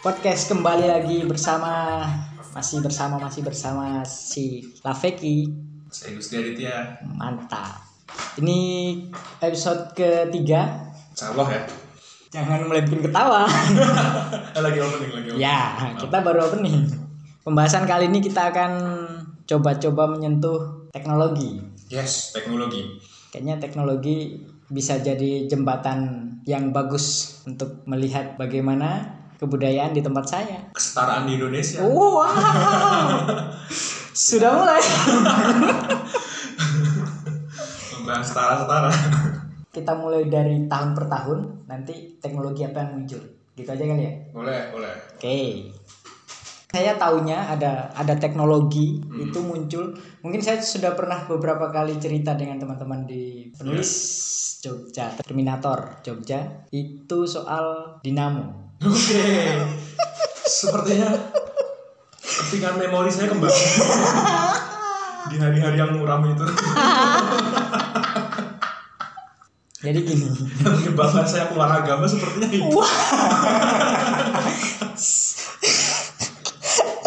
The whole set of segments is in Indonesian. podcast kembali lagi bersama masih bersama masih bersama si Lafeki Saya Gusti Aditya, mantap ini episode ketiga insya Allah ya. jangan mulai bikin ketawa Eh, lagi opening lagi opening. ya kita baru opening pembahasan kali ini kita akan coba-coba menyentuh teknologi Yes, teknologi. kayaknya teknologi bisa jadi jembatan yang bagus untuk melihat bagaimana kebudayaan di tempat saya Kesetaraan di Indonesia. Wow. Sudah mulai. Membahas setara-setara. Kita mulai dari tahun per tahun, nanti teknologi apa yang muncul. Gitu aja kali ya. boleh, boleh. Oke. Saya tahunya ada ada teknologi itu muncul. Mungkin saya sudah pernah beberapa kali cerita dengan teman-teman di penulis Jogja Terminator Jogja itu soal dinamo. Oke. Sepertinya kepingan memori saya kembali. di hari-hari yang muram itu. Jadi gini. yang menyebabkan saya keluar agama sepertinya itu.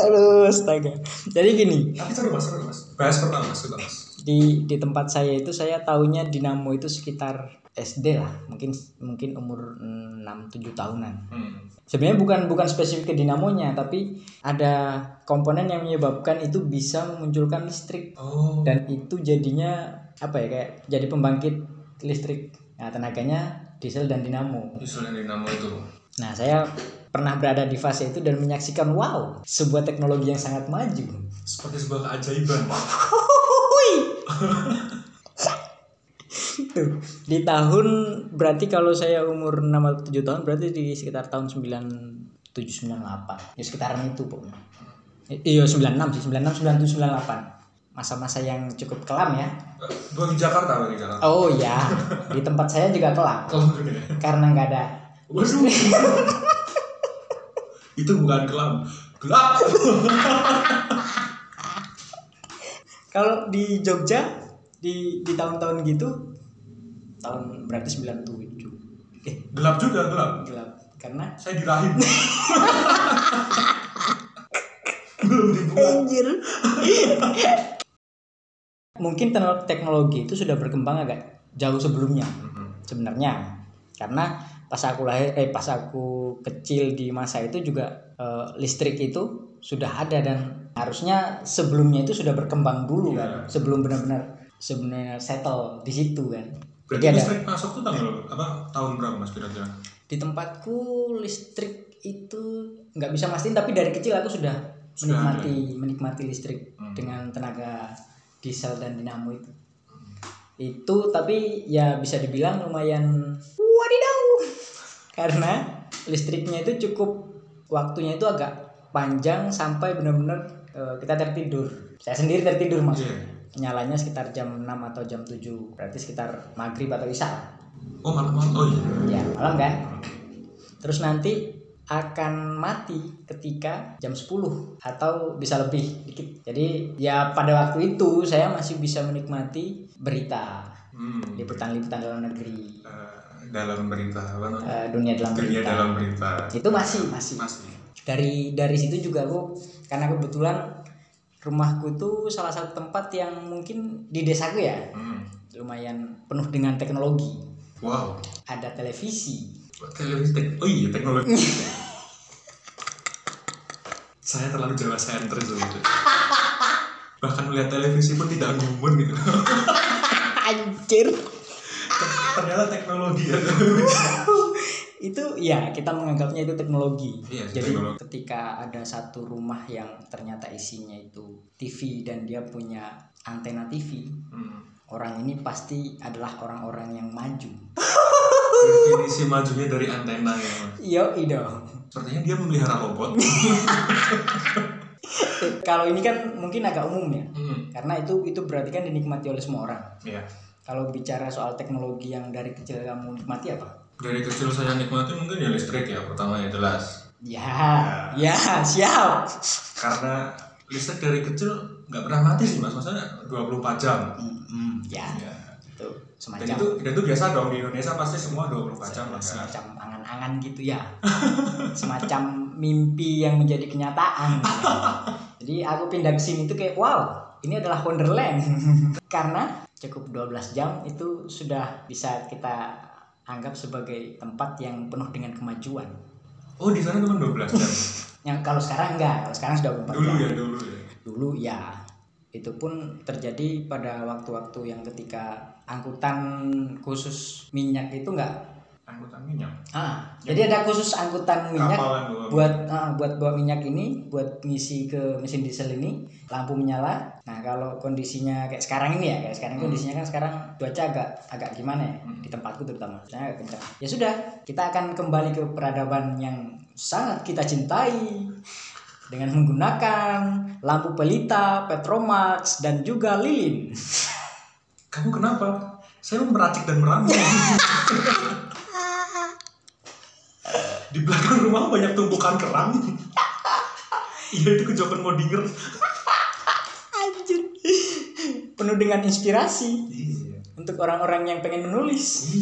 Aduh, astaga. Jadi gini, Tapi seru mas, seru mas. Bahas pertama mas, coba mas. di di tempat saya itu saya tahunya dinamo itu sekitar SD lah mungkin mungkin umur 6 7 tahunan. Hmm. Sebenarnya bukan bukan spesifik ke dinamonya tapi ada komponen yang menyebabkan itu bisa memunculkan listrik Oh. dan itu jadinya apa ya kayak jadi pembangkit listrik. Nah, tenaganya diesel dan dinamo. Usul yang dinamo itu. Nah, saya pernah berada di fase itu dan menyaksikan wow, sebuah teknologi yang sangat maju. Seperti sebuah keajaiban. Tuh, di tahun berarti kalau saya umur 6 atau 7 tahun berarti di sekitar tahun 97 98. Ya sekitaran itu, pokoknya. I- Iya, 96 sih, 96 97 98. Masa-masa yang cukup kelam ya. Gua di Jakarta, gua di Jakarta. Oh ya, di tempat saya juga kelam Kalau begini. karena nggak ada. Waduh. itu bukan kelam. Gelap. Kalau di Jogja di di tahun-tahun gitu tahun berarti 97. Eh, Gelap juga, gelap. gelap karena Saya di rahim. Belum dibuka. Anjir. Mungkin tekno- teknologi itu sudah berkembang agak jauh sebelumnya sebenarnya. Karena pas aku lahir eh pas aku kecil di masa itu juga eh, listrik itu sudah ada dan harusnya sebelumnya itu sudah berkembang dulu kan. Iya. Sebelum benar-benar sebenarnya settle di situ kan. Berarti Jadi ada listrik masuk tuh tanggal apa tahun berapa mas kira-kira? di tempatku listrik itu nggak bisa mastiin tapi dari kecil aku sudah Sudah menikmati menikmati listrik Hmm. dengan tenaga diesel dan dinamo itu Hmm. itu tapi ya bisa dibilang lumayan wadidaw karena listriknya itu cukup waktunya itu agak panjang sampai benar-benar eh, kita tertidur saya sendiri tertidur mas Iya. nyalanya sekitar jam 6 atau jam 7 berarti sekitar maghrib atau isya Oh malam malam. Oh iya. ya malam kan terus nanti akan mati ketika jam 10 atau bisa lebih dikit jadi ya pada waktu itu saya masih bisa menikmati berita Hmm. liputan-liputan dalam negeri Eh, dalam berita apa namanya? eh, dunia dalam Dunia berita dalam berita. itu masih masih Masih. dari dari situ juga aku karena kebetulan rumahku tuh salah satu tempat yang mungkin di desaku ya Hmm. lumayan penuh dengan teknologi Wow. ada televisi Televisi. tek- Oh iya teknologi. saya terlalu jawa sentris loh. gitu. Bahkan melihat televisi pun tidak gumun gitu. anjir Ternyata teknologi ya. itu ya kita menganggapnya itu teknologi. Iya, Jadi teknologi. ketika ada satu rumah yang ternyata isinya itu TV dan dia punya antena TV, Hmm. orang ini pasti adalah orang-orang yang maju. Definisi majunya dari antena ya. Mas. Yo ido. Sepertinya dia memelihara robot. Kalau ini kan mungkin agak umum ya. Hmm. Karena itu itu berarti kan dinikmati oleh semua orang. Iya. Kalau bicara soal teknologi yang dari kecil kamu nikmati apa? Dari kecil saya nikmati mungkin ya listrik ya pertama ya jelas. Ya, ya siap. Karena listrik dari kecil nggak pernah mati sih mas, maksudnya 24 jam. Hmm. Ya, Ya. itu gitu Dan semacam itu dan itu biasa dong di Indonesia pasti semua 24 jam lah kan. semacam angan-angan gitu ya semacam mimpi yang menjadi kenyataan jadi aku pindah ke sini tuh kayak wow ini adalah wonderland karena cukup 12 jam itu sudah bisa kita anggap sebagai tempat yang penuh dengan kemajuan Oh, di sana cuma 12 jam. yang kalau sekarang enggak kalau sekarang sudah 24 dulu jam ya, dulu ya. dulu ya itu pun terjadi pada waktu-waktu yang ketika angkutan khusus minyak itu enggak Angkutan minyak. ah jadi ada khusus angkutan minyak Kapalan doang. buat ah, buat bawa minyak ini buat ngisi ke mesin diesel ini lampu menyala nah kalau kondisinya kayak sekarang ini ya kayak sekarang Hmm. kondisinya kan sekarang cuaca agak agak gimana ya Hmm. di tempatku terutama cuacanya agak kencang ya sudah kita akan kembali ke peradaban yang sangat kita cintai dengan menggunakan lampu pelita petromax dan juga lilin Kamu kenapa? Saya mau meracik dan meramu. di belakang rumah banyak tumpukan kerang. Iya itu kejokan Modinger. anjir penuh dengan inspirasi Iya. untuk orang-orang yang pengen menulis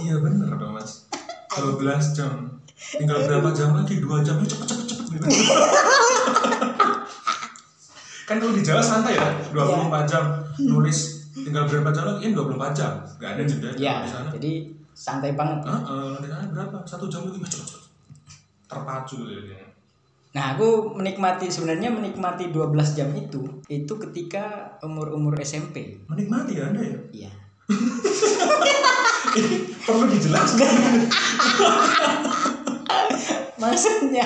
Iya bener dong mas 12 jam Tinggal berapa jam lagi? 2 jam Ayo, cepet cepet cepet gitu. Kan kalau di Jawa santai ya 24 jam Nulis tinggal berapa jam lagi? Iya, Ini 24 jam Gak ada jeda ya Iya, di sana jadi santai banget Heeh, di sana berapa? Satu jam lagi Ayo, cepet cepet Terpacu gitu ya Nah, aku menikmati sebenarnya menikmati 12 jam itu itu ketika umur-umur SMP. Menikmati ya anda ya? Iya. Perlu dijelaskan Maksudnya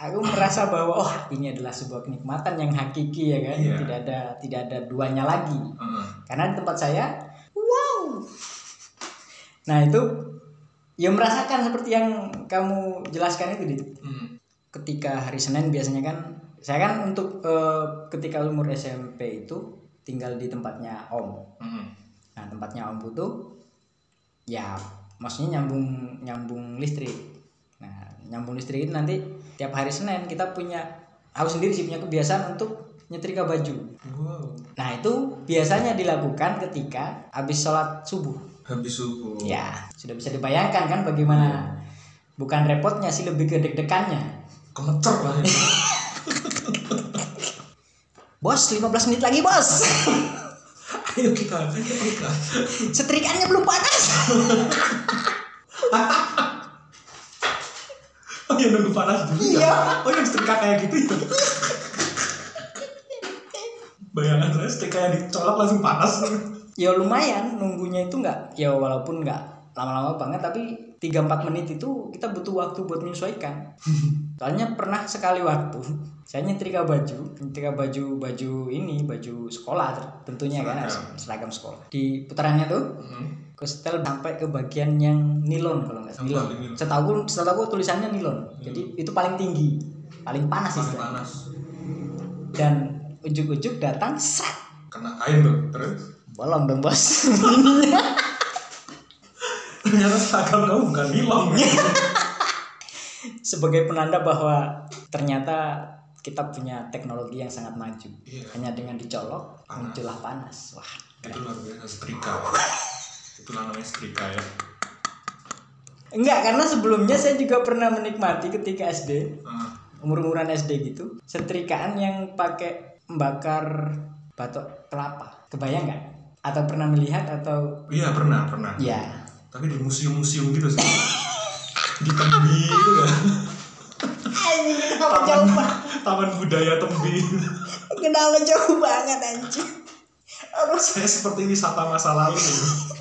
aku merasa bahwa oh, ini adalah sebuah kenikmatan yang hakiki ya kan. Iya. Tidak ada tidak ada duanya lagi. Heeh. Karena di tempat saya wow. Nah, itu ya merasakan seperti yang kamu jelaskan itu Dit. Hmm. ketika hari Senin biasanya kan saya kan untuk eh, ketika umur SMP itu tinggal di tempatnya Om. Hmm. Nah, tempatnya Om Putu ya maksudnya nyambung nyambung listrik. Nah, nyambung listrik itu nanti tiap hari Senin kita punya aku sendiri sih punya kebiasaan untuk nyetrika baju. Hmm. Wow Nah, itu biasanya dilakukan ketika habis sholat subuh. Habis subuh Ya, sudah bisa dibayangkan kan bagaimana bukan repotnya sih lebih ke deg-degannya. Kemecer lah ya Bos, 15 menit lagi bos. Ayo kita Ayo kita Setrikannya belum panas. Oh ya nunggu panas dulu ya? Iya. Oh yang setrika kayak gitu ya? Bayangan saya setrika yang dicolok langsung panas Ya lumayan, nunggunya itu nggak, ya walaupun nggak lama-lama banget, tapi 3-4 menit itu kita butuh waktu buat menyesuaikan. Soalnya pernah sekali waktu, saya nyetrika baju, nyetrika baju baju ini, baju sekolah tentunya kan, Seragam. seragam sekolah. Di putarannya tuh, Hmm. ke setel sampai ke bagian yang nilon kalau nggak salah. Yang Nilon. paling nilon. Setahu setahu aku tulisannya nilon. Jadi itu paling tinggi, paling panas Panas istilahnya. panas dan ujuk-ujuk datang sat Kena kain tuh Terus bolong dong bos Ternyata seragam kamu bukan nilon sebagai penanda bahwa ternyata kita punya teknologi yang sangat maju Iya. hanya dengan dicolok Panas. muncullah panas wah Itu luar biasa setrika Itulah namanya setrika ya enggak karena sebelumnya saya juga pernah menikmati ketika SD Ah, umur-umuran SD gitu setrikaan yang pakai membakar batok kelapa kebayang nggak atau pernah melihat atau Iya pernah pernah ya Tapi di museum-museum gitu sih Di Tembi gitu ya kenapa jauh banget Taman budaya Tembi kenapa jauh banget anjing harus Saya seperti wisata masa lalu gitu.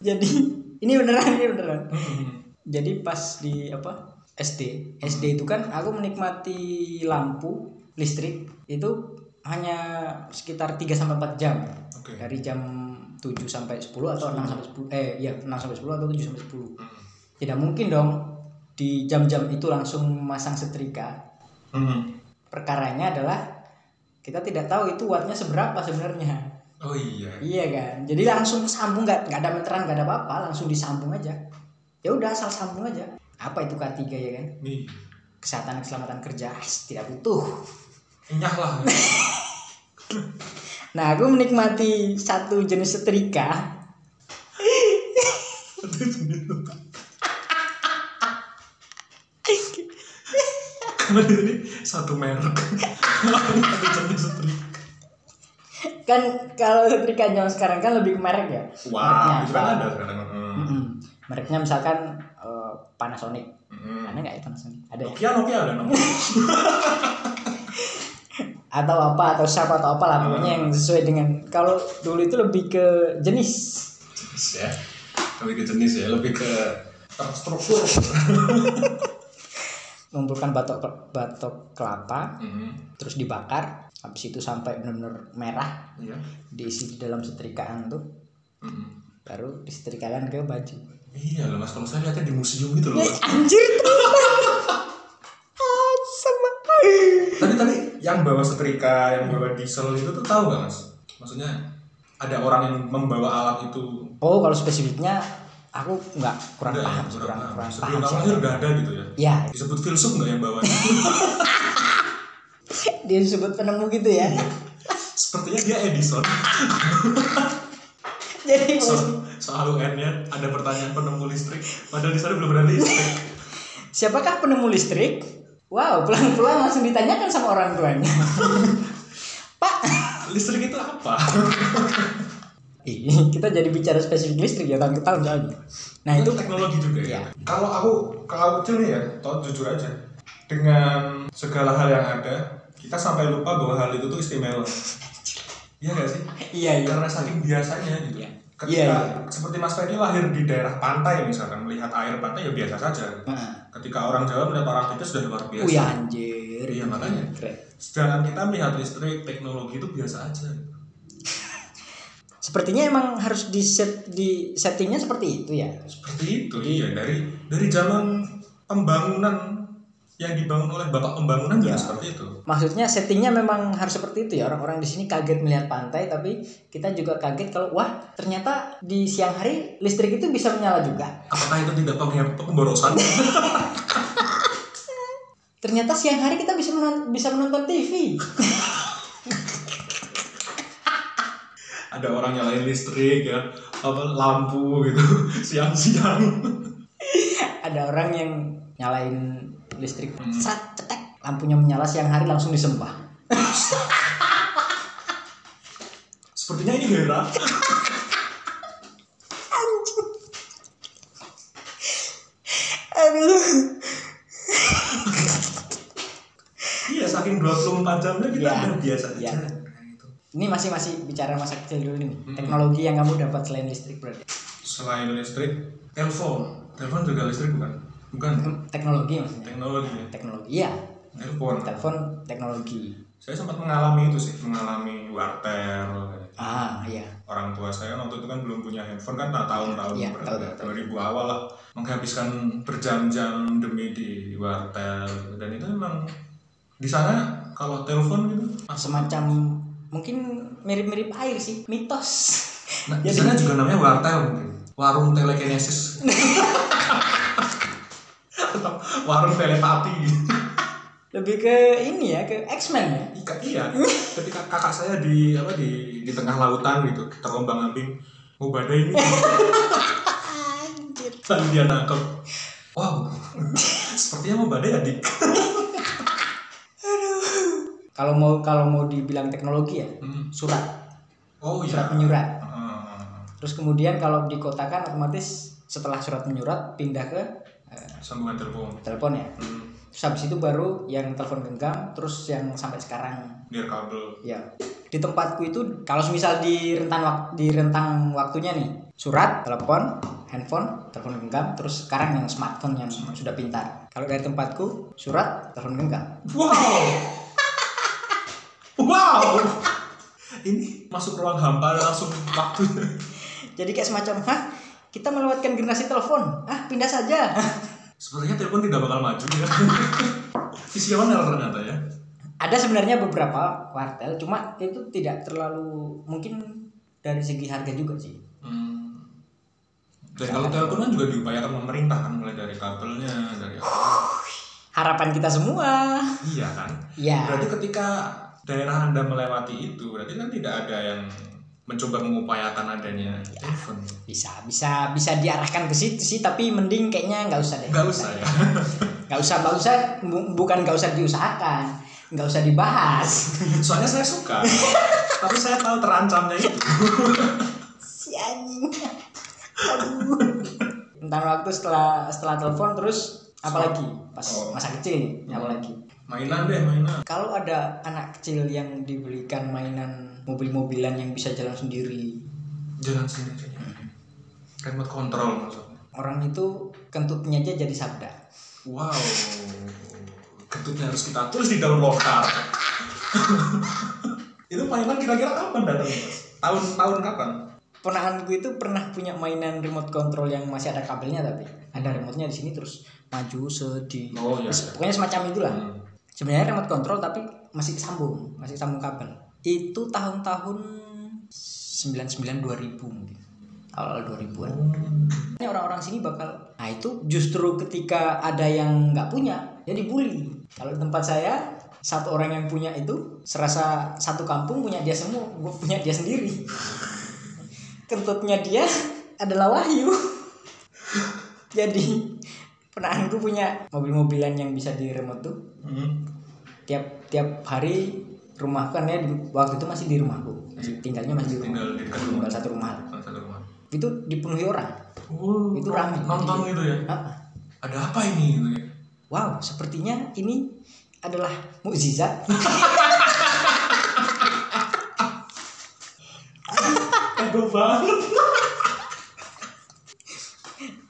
jadi ini beneran ini beneran Hmm. jadi pas di apa SD SD itu kan aku menikmati lampu listrik itu hanya sekitar 3 sampai 4 jam Oke dari jam 7 sampai 10 atau 6 sampai 10 eh iya 6 sampai 10 atau 7 sampai 10 Hmm. tidak mungkin dong di jam-jam itu langsung memasang setrika Hmm. perkaranya adalah kita tidak tahu itu wattnya seberapa sebenarnya Oh iya. Iya kan. Jadi langsung sambung nggak nggak ada meteran nggak ada apa-apa langsung disambung aja. Ya udah asal sambung aja. Apa itu K3 ya kan? Nih, Kesehatan dan keselamatan kerja ah, tidak butuh. nyah lah. Nah, aku menikmati satu jenis setrika Itu bener. Karena di sini satu merek. Satu jenis setrika. kan kalau setrika zaman sekarang kan lebih ke merek ya Mereknya Wah, itu apa? kan ada sekarang. Hmm. Mm-mm. mereknya misalkan eh, Panasonic Hmm. ada nggak ya Panasonic ada ya? Nokia Nokia ada Nokia. atau apa atau siapa atau apa lah Oh. pokoknya yang sesuai dengan kalau dulu itu lebih ke jenis Jenis ya. Lebih ke jenis ya, lebih ke terstruktur. mengumpulkan batok batok kelapa Hmm. terus dibakar habis itu sampai benar-benar merah Iya. diisi di dalam setrikaan tuh Hmm. baru disetrikakan ke baju Iya loh mas, kalau saya lihatnya di museum gitu loh. Eh, anjir Ah, sama Tapi tadi yang bawa setrika, yang bawa diesel itu tuh tahu gak mas? Maksudnya ada orang yang membawa alat itu oh kalau spesifiknya aku nggak kurang Udah ya, paham kurang kurang paham. kurang paham Sebelum kamu soal lahir itu. udah ada gitu ya. ya Disebut filsuf nggak yang bawa? dia disebut penemu gitu ya Iya. Sepertinya dia Edison. jadi So, soal UN-nya ada pertanyaan penemu listrik, padahal di sana belum ada listrik. siapakah penemu listrik wow pelan-pelan langsung ditanyakan sama orang tuanya pak listrik itu apa? Nah, Ih, kita jadi bicara spesifik listrik ya tahun ke tahun soalnya nah itu teknologi juga ya. Iya. Kalau aku kalau aku kecil nih ya, tau jujur aja. Dengan segala hal yang ada, kita sampai lupa bahwa hal itu tuh istimewa. Iya gak sih? iya iya karena saking biasanya gitu Iya. ketika Iya, seperti Mas Ferry lahir di daerah pantai misalkan melihat air pantai ya biasa saja Heeh. ketika orang Jawa melihat orang itu sudah luar biasa Wih anjir Iya, makanya. Keren. sedangkan kita melihat listrik teknologi itu biasa aja Sepertinya emang harus di set di settingnya seperti itu ya. seperti itu iya dari dari zaman pembangunan yang dibangun oleh bapak pembangunan Iya. juga seperti itu Maksudnya settingnya memang harus seperti itu ya. Orang-orang di sini kaget melihat pantai, tapi kita juga kaget kalau wah ternyata di siang hari listrik itu bisa menyala juga. apakah itu tidak penghe- pemborosan Ternyata siang hari kita bisa menon- bisa menonton TV. ada orang nyalain listrik ya apa lampu gitu siang-siang Ada orang yang nyalain listrik, sat cetek lampunya menyala siang hari langsung disembah. sepertinya ini Hera Aduh. Iya, saking 24 jamnya kita Iya. udah biasa aja. Iya. Nah, itu. Ini masih masih bicara masa kecil dulu nih. Teknologi yang kamu dapat selain listrik berarti. Selain listrik, telepon. Telepon juga listrik bukan? Bukan. ya? Teknologi maksudnya. Teknologi ya. Teknologi ya. Telepon. Telepon teknologi. Saya sempat mengalami itu sih, mengalami wartel. Ah iya. Orang tua saya waktu itu kan belum punya handphone kan nah, tahun-tahun Iya, berapa tahu, ya, tahu. 2000 awal lah menghabiskan berjam-jam demi di wartel gitu. dan itu memang di sana kalau telepon gitu semacam mungkin mirip-mirip air sih mitos nah, di sana juga namanya wartel mungkin. warung telekinesis Atau warung telepati lebih ke ini ya ke X-Men ya Ika, iya ketika kakak saya di apa di di tengah lautan gitu terombang ambing mau badai ini anjir lalu dia nangkep wow sepertinya mau badai adik kalau mau kalau mau dibilang teknologi ya Hmm. surat oh iya surat menyurat Ah, terus kemudian kalau dikotakan otomatis setelah surat menyurat pindah ke eh, sambungan telepon telepon ya Hmm, terus habis itu baru yang telepon genggam terus yang sampai sekarang near kabel ya di tempatku itu kalau misal di rentan wak- di rentang waktunya nih surat telepon handphone telepon genggam terus sekarang yang smartphone yang sudah pintar kalau dari tempatku surat telepon genggam wow wow ini masuk ruang hampa langsung waktunya jadi kayak semacam hah kita melewatkan generasi telepon ah pindah saja Sepertinya telepon tidak bakal maju ya. Visioner ternyata ya. ada sebenarnya beberapa wartel cuma itu tidak terlalu mungkin dari segi harga juga sih Hmm. Dan kalau telepon kan juga diupayakan pemerintah kan mulai dari kabelnya, dari harapan kita semua iya kan. ya Berarti ketika daerah Anda melewati itu, berarti kan tidak ada yang mencoba mengupayakan adanya event. bisa bisa bisa diarahkan ke situ sih tapi mending kayaknya nggak usah deh Nggak usah ya. nggak usah nggak usah bu- bukan nggak usah diusahakan nggak usah dibahas Soalnya saya suka, tapi saya tahu terancamnya itu. si anjing aduh tentang waktu setelah setelah telepon terus apalagi pas Oh. masa kecil nih apalagi Mainan deh, mainan. kalau ada anak kecil yang dibelikan mainan mobil-mobilan yang bisa jalan sendiri Jalan sendiri. Remote control maksudnya. orang itu kentutnya aja jadi sabda Wow, kentutnya harus kita tulis di daun lokar. itu mainan kira-kira kapan datang? Mas? Tahun-tahun kapan? ponakanku itu pernah punya mainan remote control yang masih ada kabelnya tapi ada remote-nya di sini terus maju sedih Oh, iya. pokoknya semacam itulah Hmm. sebenarnya remote control tapi masih sambung masih sambung kabel itu tahun-tahun 99 2000 mungkin awal 2000-an ini orang-orang sini bakal nah itu justru ketika ada yang nggak punya jadi bully kalau di tempat saya satu orang yang punya itu serasa satu kampung punya dia semua gue punya dia sendiri kentutnya dia adalah Wahyu jadi penahanku punya mobil-mobilan yang bisa di remote tuh Hmm. tiap tiap hari rumah kan ya di- waktu itu masih di rumahku Masih- tinggalnya masih di rumah Iya. Tinggal di dekat rumah. tinggal satu rumah lah. Satu rumah. itu dipenuhi orang Oh, Itu rame. Nonton gitu ya. Ah, Ada apa ini? Gitu ya. wow sepertinya ini adalah mukjizat Ego banget.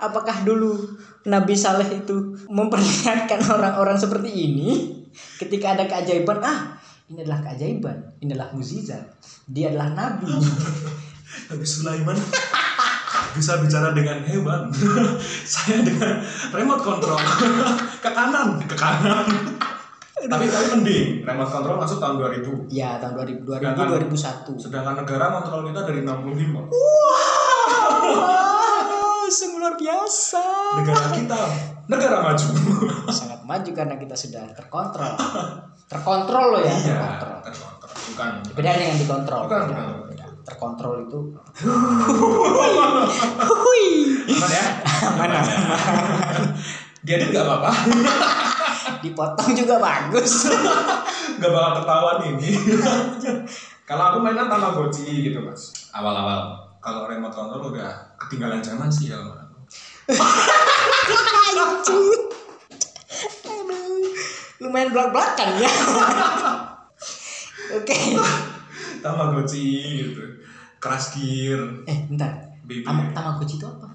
apakah dulu Nabi Saleh itu memperlihatkan orang-orang seperti ini ketika ada keajaiban ah ini adalah keajaiban ini adalah mukjizat dia adalah nabi Tapi Sulaiman bisa bicara dengan hewan. Saya dengan remote control ke kanan, ke kanan. tapi tapi mending remote control masuk tahun 2000. ya tahun 2000 2000 Sedangkan- 2001 Sedangkan negara kontrol kita dari 65. Wah, sungguh luar biasa. Negara kita negara maju. Sangat maju karena kita sudah terkontrol. Terkontrol loh ya, Iya, terkontrol. terkontrol. Bukan. Beda dengan dikontrol. Bukan, Beda, bukan. beda. Terkontrol itu. Hui. Aman ya? Aman, aman. Dia edit nggak apa-apa. Dipotong juga bagus. Nggak bakal ketahuan ini. Kalau aku mainan Tamagotchi gitu, Mas. Awal-awal. Kalau remote control udah ketinggalan zaman sih ya. Mas. Aduh. Aduh. Lumayan belak-belakan ya. Oke. Tamagotchi gitu. Crash Gear, Eh, bentar. Baby. Tam- Tamagotchi itu apa?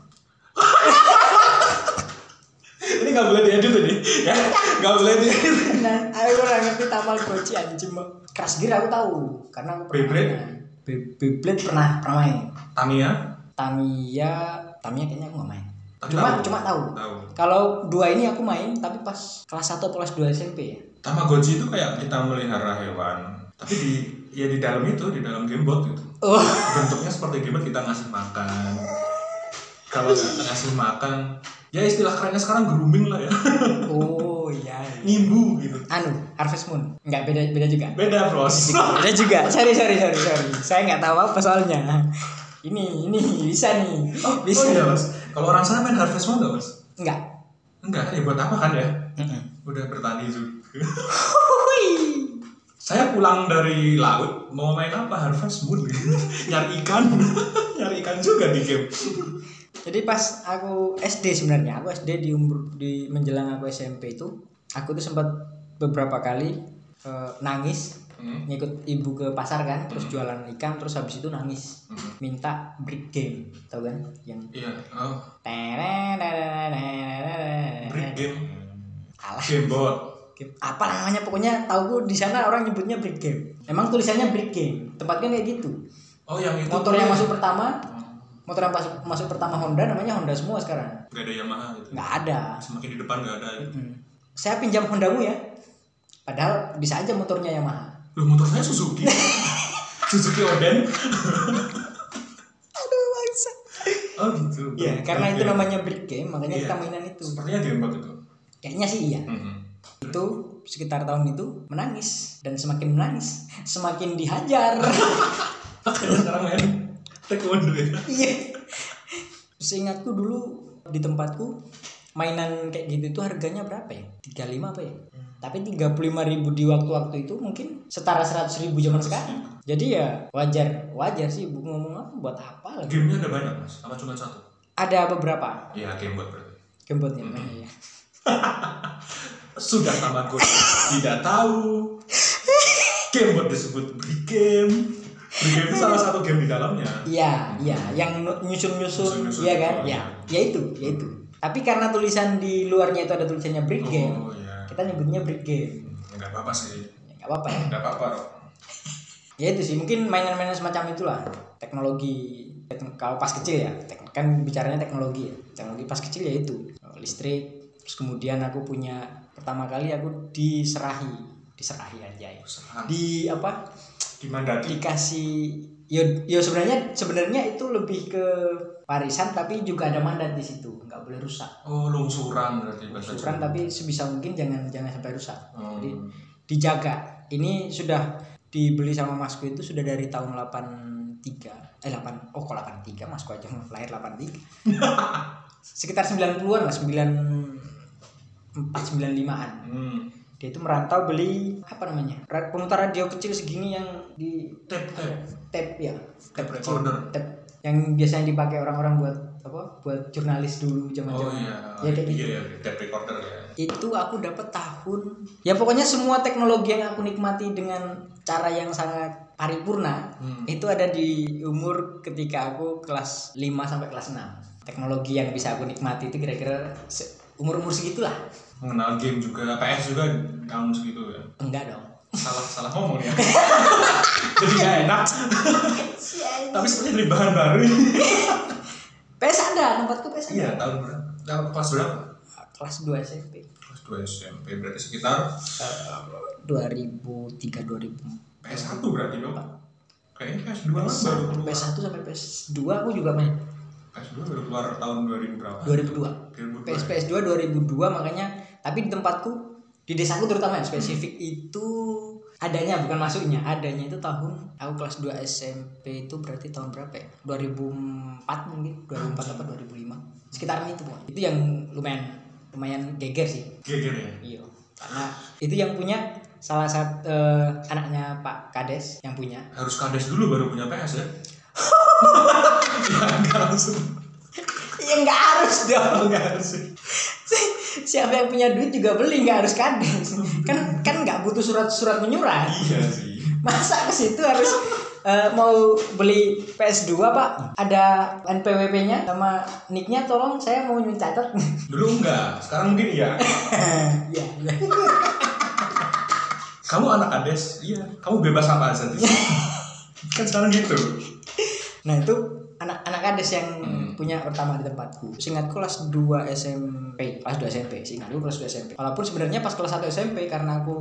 Ini nggak boleh diedit ini. Ya, nggak boleh diedit. nah aku kurang ngerti tamal goci anjing mah keras gear aku tahu karena aku pernah Beyblade? main. Be- Beyblade pernah pernah main Tamiya? Tamiya Tamiya kayaknya aku nggak main Tapi cuma tahu. cuma tahu Tahu. kalau dua ini aku main tapi pas kelas 1 atau kelas 2 SMP ya Tamagotchi itu kayak kita melihara hewan, tapi di ya di dalam itu, di dalam gamebot gitu. oh Bentuknya seperti gamebot kita ngasih makan. Kalau nggak ngasih makan, ya istilah kerennya sekarang grooming lah ya, oh iya ngimbu gitu. anu Harvest Moon nggak beda beda juga Beda bros. beda juga sorry sorry sorry sorry saya nggak tahu apa soalnya ini ini bisa nih bisa Oh iya mas, kalau orang sana main Harvest Moon nggak mas? nggak Enggak, ya buat apa kan ya? Mm-mm. Udah bertani juga. Hui. Saya pulang dari laut mau main apa Harvest Moon? nyari ikan, nyari ikan juga di game. Jadi pas aku SD sebenarnya, aku SD di umur di menjelang aku SMP itu, aku tuh sempat beberapa kali eh, nangis Hmm. ngikut ibu ke pasar kan, terus jualan ikan, terus habis itu nangis Hmm. minta break game, tau kan? Yang Iya, oh, tererererererererererererererererererererererererererererererererererererererererererererererererererererererererererererererererererererapa break game, Alah. game bot. namanya pokoknya tahu gue di sana orang nyebutnya break game. Emang tulisannya break game, tempatnya kayak gitu. Oh yang itu Motor yang masuk pertama, motor yang pas- masuk pertama Honda namanya Honda semua sekarang. Gak ada Yamaha gitu nggak ada Semakin di depan gak ada ya. Hmm. saya pinjam Hondamu ya padahal bisa aja motornya Yamaha Loh motor saya Suzuki Suzuki Oden aduh bangsa Oh gitu ya karena itu Oke. namanya break game makanya Iya. kita mainan itu Sepertinya gamebot itu Mm-hmm. kayaknya sih iya itu sekitar tahun itu menangis dan semakin menangis semakin dihajar Kalau sekarang main taekwondo ya. iya seingatku dulu di tempatku mainan kayak gitu itu harganya berapa ya 35 apa ya tapi 35.000 di waktu-waktu itu mungkin setara 100.000 zaman sekarang jadi ya wajar wajar sih ibu ngomong apa buat apa lagi Gamenya ada banyak mas, apa cuma satu? ada beberapa Iya game buat berarti. gamebotnya mainnya ya. Sudah tamat gue tidak tahu. Game buat disebut beri game. Beri game itu salah satu game di dalamnya. Iya, iya, yang nu- nyusun-nyusun, Nyusun-nyusun iya kan? itu. Ya, ya itu, ya itu. Tapi karena tulisan di luarnya itu ada tulisannya brick game, Oh iya. kita nyebutnya brick game. Enggak apa-apa sih. Ya, nggak apa-apa ya. Enggak apa-apa Rob. Ya itu sih, mungkin mainan-mainan semacam itulah. Teknologi, tekn- kalau pas kecil ya, tek- kan bicaranya teknologi ya. Teknologi pas kecil ya itu, listrik. Terus kemudian aku punya, pertama kali aku diserahi, diserahi aja ya. Usaha Di apa, di Mandaki. dikasih yo yo sebenarnya sebenarnya itu lebih ke warisan tapi juga ada mandat di situ nggak boleh rusak Oh lungsuran berarti bahasa syukuran Jawa. tapi sebisa mungkin jangan jangan sampai rusak Hmm. jadi dijaga ini sudah dibeli sama masku itu sudah dari tahun 83 eh 8 oh kok 83 masku aja lahir 83 sekitar 90-an lah 9 495-an Hmm. dia itu merantau beli apa namanya ra- pemutar radio kecil segini yang di Tap tap. tape ya Tape kecil, recorder. tape yang biasanya dipakai orang-orang buat apa buat jurnalis dulu zaman Oh zaman iya. ya kayak gitu Iya iya. Tap recorder ya. itu aku dapat tahun ya pokoknya semua teknologi yang aku nikmati dengan cara yang sangat paripurna Hmm. itu ada di umur ketika aku kelas 5 sampai kelas 6 teknologi yang bisa aku nikmati itu kira-kira se- umur-umur segitulah Mengenal game juga, PS juga tahun segitu ya. enggak dong salah salah ngomong ya jadi nggak enak tapi sepertinya beli bahan baru PS ada tempatku PS ada iya Eh, tahun berapa tahun kelas berapa kelas 2 SMP kelas 2 SMP berarti sekitar 2003 2004 PS1 berarti dong kayaknya PS2 kan baru keluar PS1 sampai PS2 aku juga main PS2 baru keluar tahun 2000 berapa Ah. 2002 2002 PS PS2 2002 makanya tapi di tempatku di desaku terutama yang spesifik itu adanya bukan masuknya adanya itu tahun aku kelas 2 SMP itu berarti tahun berapa ya 2004 mungkin 2004 atau 2005 sekitaran itu pokoknya itu yang lumayan lumayan geger sih geger ya Iya, karena itu yang punya salah satu eh, anaknya Pak Kades yang punya. harus kades dulu baru punya PS ya ya nggak langsung Ya nggak harus dong. nggak harus Si- Siapa yang punya duit juga beli nggak harus kades. Kan kan nggak butuh surat-surat menyurat. iya sih Masa ke situ harus eh, mau beli PS2 Pak? Ada NPWP-nya sama nick-nya tolong saya mau mencatat. dulu enggak sekarang mungkin iya ya. kamu anak kades iya kamu bebas apa aja di sini. kan sekarang gitu Nah itu anak-anak kades yang punya pertama di tempatku. Seingatku kelas 2 SMP, kelas 2 SMP, seingatku kelas 2 SMP. Walaupun sebenarnya pas kelas 1 SMP karena aku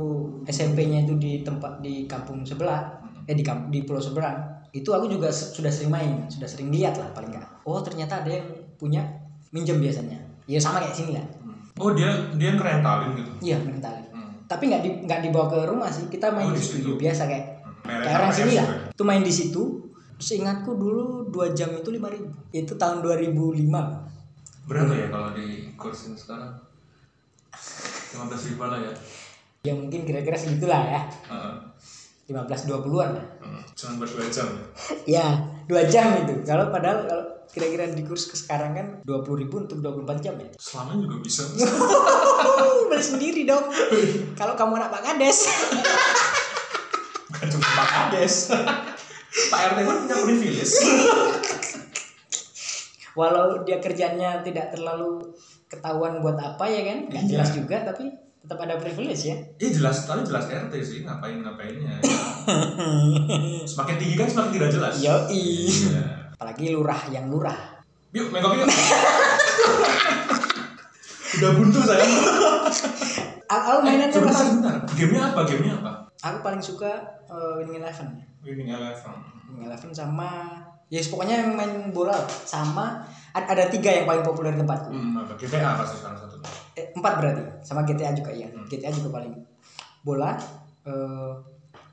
SMP-nya itu di tempat di kampung sebelah, eh di kamp- di pulau seberang, itu aku juga se- sudah sering main, sudah sering lihat lah paling enggak. Oh, ternyata ada yang punya minjem biasanya. Ya sama kayak sini lah. oh dia dia ngerentalin gitu Iya, mental. Hmm. Tapi nggak di, nggak dibawa ke rumah sih. Kita main Oh, di di studio situ. biasa kayak Merek kayak orang apa sini ya, lah. sebenarnya? Itu main di situ. Seingatku dulu 2 jam itu 5000. Itu tahun 2005. berapa ya kalau di kursin sekarang 15 ribu lah ya Ya mungkin kira-kira segitulah ya. Heeh. 15 20-an lah. Heeh. cuma buat dua jam ya ya, 2 jam itu. Kalau padahal kalau kira-kira di kurs ke sekarang kan 20.000 untuk 24 jam ya. selama juga bisa Beli sendiri dong. kalau kamu anak Pak Kades. bukan cuma pak kades pak rt kan punya privilege walau dia kerjanya tidak terlalu ketahuan buat apa ya kan nggak Iya. jelas juga tapi tetap ada privilege ya iya jelas tapi jelas rt sih ngapain ngapainnya ya. semakin tinggi kan semakin tidak jelas Yoi. iya apalagi lurah yang lurah yuk main kopi yuk udah buntu saya aku, aku mainannya sebentar, paling sebentar. Gamenya apa? Gamenya apa? aku paling suka eh, winning eleven Winning Eleven. winning eleven sama ya pokoknya yang main bola lah. sama ad- ada tiga yang paling populer di tempatku Hmm, apa? GTA pasti salah satu. eh, empat berarti sama GTA juga iya GTA juga paling bola eh,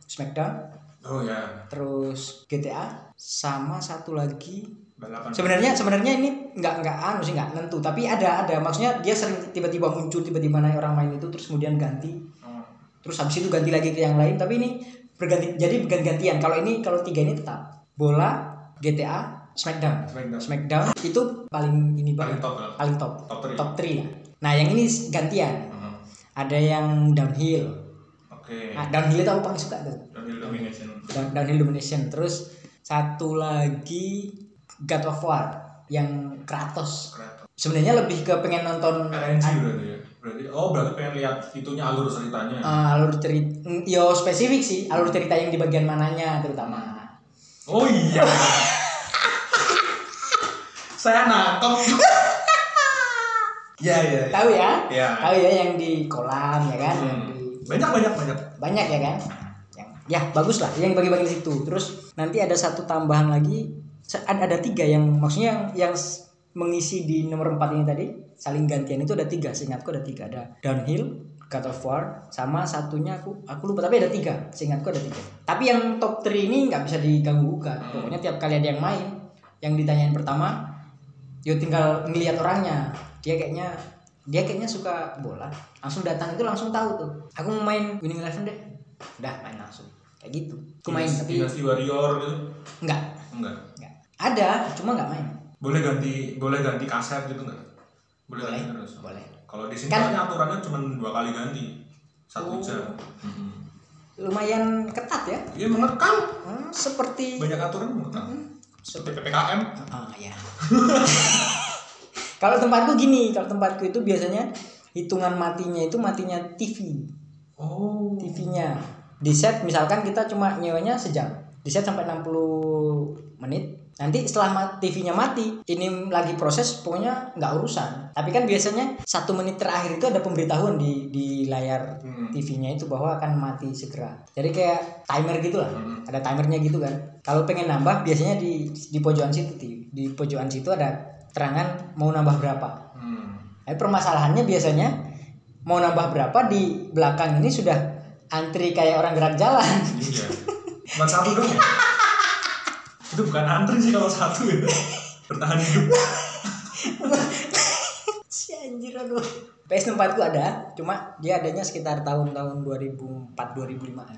Smackdown Oh ya, terus GTA sama satu lagi balapan. sebenarnya sebenarnya ini nggak nggak anu sih nggak nentu tapi ada ada maksudnya dia sering tiba-tiba muncul tiba-tiba naik orang main itu terus kemudian ganti Oh. terus habis itu ganti lagi ke yang lain tapi ini berganti jadi berganti-gantian kalau ini kalau tiga ini tetap bola GTA Smackdown Smackdown. Smackdown itu paling ini paling Paling top lah. paling top Top three. top 3 lah nah yang ini gantian Mhm. ada yang downhill Oke. nah, downhill itu aku paling suka tuh Downhill domination. Down- downhill domination terus satu lagi God of War yang Kratos Kreator. sebenarnya lebih ke pengen nonton RNG berarti ya. Berarti oh berarti pengen lihat itunya alur ceritanya. eh, alur cerita yo spesifik sih alur cerita yang di bagian mananya terutama Oh iya. Saya nangkep. Ya ya. ya. tahu ya Ya. tahu ya yang di kolam ya kan yang Hmm. di, Banyak banyak banyak. banyak ya kan yang ya bagus lah yang bagi-bagi di situ terus nanti ada satu tambahan lagi Se- ada, ada tiga yang maksudnya yang yang s- mengisi di nomor empat ini tadi saling gantian itu ada tiga seingatku ada tiga ada downhill God of War sama satunya aku aku lupa tapi ada tiga seingatku ada tiga tapi yang top 3 ini nggak bisa diganggu gugat Hmm. pokoknya tiap kali ada yang main yang ditanyain pertama yo tinggal ngelihat orangnya dia kayaknya dia kayaknya suka bola langsung datang itu langsung tahu tuh aku mau main winning eleven deh udah main langsung kayak gitu aku main tapi Dynasty Warrior gitu. enggak Enggak. enggak ada cuma enggak main Boleh ganti boleh ganti kaset gitu enggak? Boleh, Boleh. ganti terus. boleh Kalau di sini Kan- soalnya aturannya cuma dua kali ganti. Satu Oh. jam. Mm-hmm. lumayan ketat ya Iya mengekang. Hmm, seperti Banyak aturan mengekang. Mm-hmm. Seperti PPKM. Ah ya. kalau tempatku gini, kalau tempatku itu biasanya hitungan matinya itu matinya TV, Oh. TV-nya. Di set misalkan kita cuma nyewanya sejam. Di set sampai 60 menit. Nanti setelah ma- TV-nya mati, ini lagi proses pokoknya nggak urusan. Tapi kan biasanya satu menit terakhir itu ada pemberitahuan di di layar Hmm. TV-nya itu bahwa akan mati segera. Jadi kayak timer gitu lah. Hmm. Ada timernya gitu kan. Kalau pengen nambah biasanya di di pojokan situ Ti. di pojokan situ ada terangan mau nambah berapa. Hmm. Tapi permasalahannya biasanya mau nambah berapa di belakang ini sudah antri kayak orang gerak jalan. Iya. Bukan satu dong ya? Itu bukan antri sih kalau satu ya. Bertahan hidup. si anjir aduh. PS tempatku ada, cuma dia adanya sekitar tahun-tahun 2004 2005-an.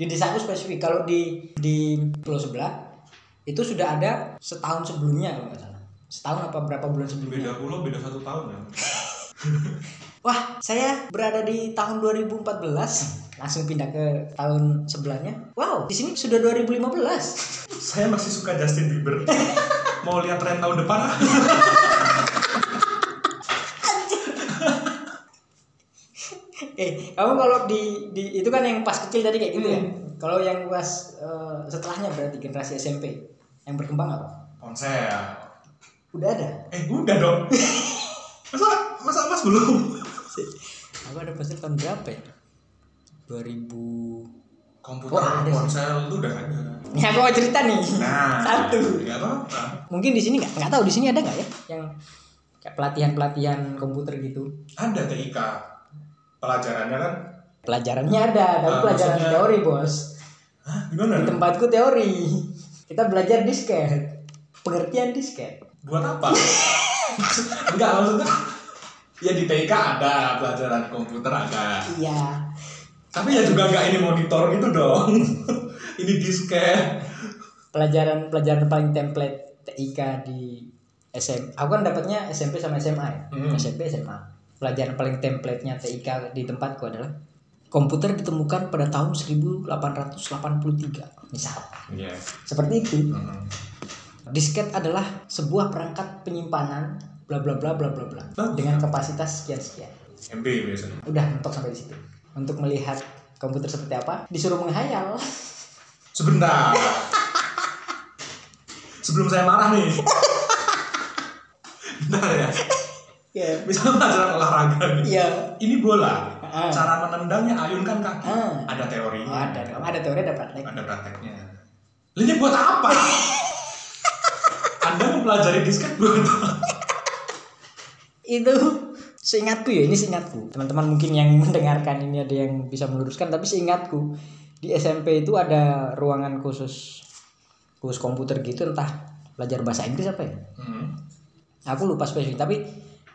Di desaku spesifik kalau di di pulau sebelah itu sudah ada setahun sebelumnya kalau nggak salah. Setahun apa berapa bulan sebelumnya? Beda pulau, beda satu tahun ya. Wah, saya berada di tahun 2014, langsung pindah ke tahun sebelahnya. Wow, di sini sudah 2015. Saya masih suka Justin Bieber. Mau lihat tren tahun depan ah. Eh, kamu kalau di, di itu kan yang pas kecil tadi kayak gitu ya. Hmm. Kalau yang pas eh, setelahnya berarti generasi SMP yang berkembang apa? Ponsel. Udah ada. Eh, udah dong. Masa, masa mas belum? Aku ada ponsel tahun berapa ya? 2000. Komputer, Wah, ada sih. ponsel itu udah ada. Nih aku mau cerita nih. Nah, Satu. Gak apa-apa. Mungkin di sini nggak nggak tahu di sini ada nggak ya yang kayak pelatihan-pelatihan komputer gitu. Ada TIK. Pelajarannya kan, Pelajarannya ada, tapi Ah, pelajaran maksudnya- teori, Bos. Hah, Di gimana? dong? tempatku teori. Kita belajar disket. Pengertian disket. buat apa? Enggak maksudnya ya di TK ada pelajaran komputer ada Iya. tapi ya juga enggak ini monitor gitu dong ini disket pelajaran pelajaran paling template TIK di SMP aku kan dapatnya SMP sama SMA ya Hmm. SMP SMA pelajaran paling templatenya TIK di tempatku adalah komputer ditemukan pada tahun 1883 misal iya seperti itu Mhm. disket adalah sebuah perangkat penyimpanan bla bla bla bla bla bla Bagus. dengan kapasitas sekian sekian MB biasanya udah mentok sampai di situ untuk melihat komputer seperti apa disuruh menghayal sebentar sebelum saya marah nih bentar ya ya misalnya pelajaran olahraga nih ya ini bola Ah. cara menendangnya ayunkan kaki Ah. ada teorinya Oh, ada dong. ada teori ada praktek ada prakteknya Lah, ini buat apa anda mempelajari disket buat apa itu seingatku ya ini seingatku teman-teman mungkin yang mendengarkan ini ada yang bisa meluruskan tapi seingatku di SMP itu ada ruangan khusus khusus komputer gitu entah belajar bahasa Inggris apa ya Hmm. aku lupa spesifik tapi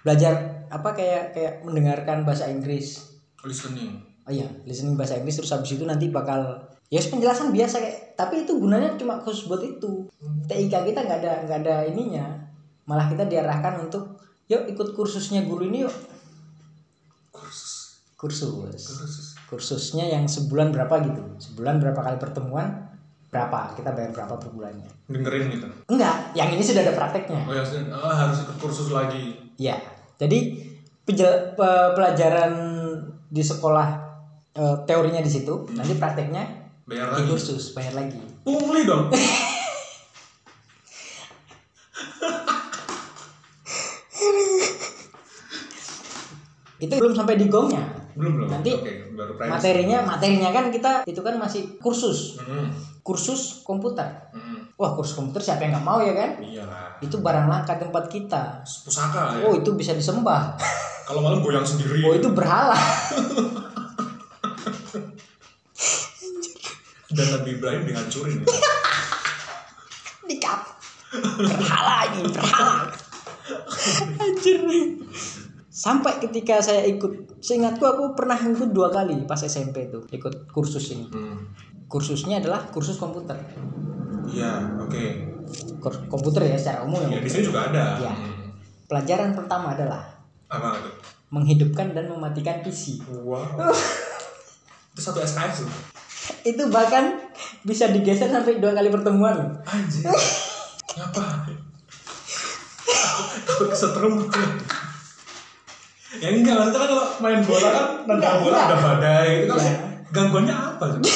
belajar apa kayak kayak mendengarkan bahasa Inggris Listening. oh iya listening bahasa Inggris terus habis itu nanti bakal ya penjelasan biasa kayak tapi itu gunanya cuma khusus buat itu TIK kita nggak ada nggak ada ininya malah kita diarahkan untuk yuk ikut kursusnya guru ini yuk Kursus. kursus Kursus. kursusnya yang sebulan berapa gitu sebulan berapa kali pertemuan berapa kita bayar berapa per bulannya Dengerin gitu. enggak yang ini sudah ada prakteknya Oh ya, sudah. Ah, harus ikut kursus lagi. Ya, jadi pejel- pe- pelajaran di sekolah eh, teorinya di situ, nanti prakteknya Bayar di lagi. kursus Eh, bayar lagi. Pungli dong. Itu belum sampai di gongnya. belum belum. Nanti Oke, baru primus. Materinya, materinya kan kita itu kan masih kursus, Hmm. kursus komputer. Hmm. Wah, kursus komputer siapa yang nggak mau ya kan? Iyalah. Itu barang langka tempat kita. Pusaka ya. Oh, itu bisa disembah. Kalau malam goyang sendiri. Oh, itu berhala. Dan Nabi Ibrahim dihancurin. ya. Dikap. Berhala ini, berhala. Anjir. Sampai ketika saya ikut, seingatku aku pernah ikut dua kali pas SMP itu ikut kursus ini. Hmm. Kursusnya adalah kursus komputer. Iya, oke. Kur- komputer ya secara umum Ya ya. di sini juga ada. Iya. Hmm. Pelajaran pertama adalah Apa itu? menghidupkan dan mematikan PC. Wow. itu satu SKS loh. Itu bahkan bisa digeser sampai dua kali pertemuan. Anjir. Ngapain? Takut kesetrum. ya enggak, maksudnya kan kalau main bola kan Enggak, nendang bola enggak. ada badai itu kan Iya. gangguannya apa coba?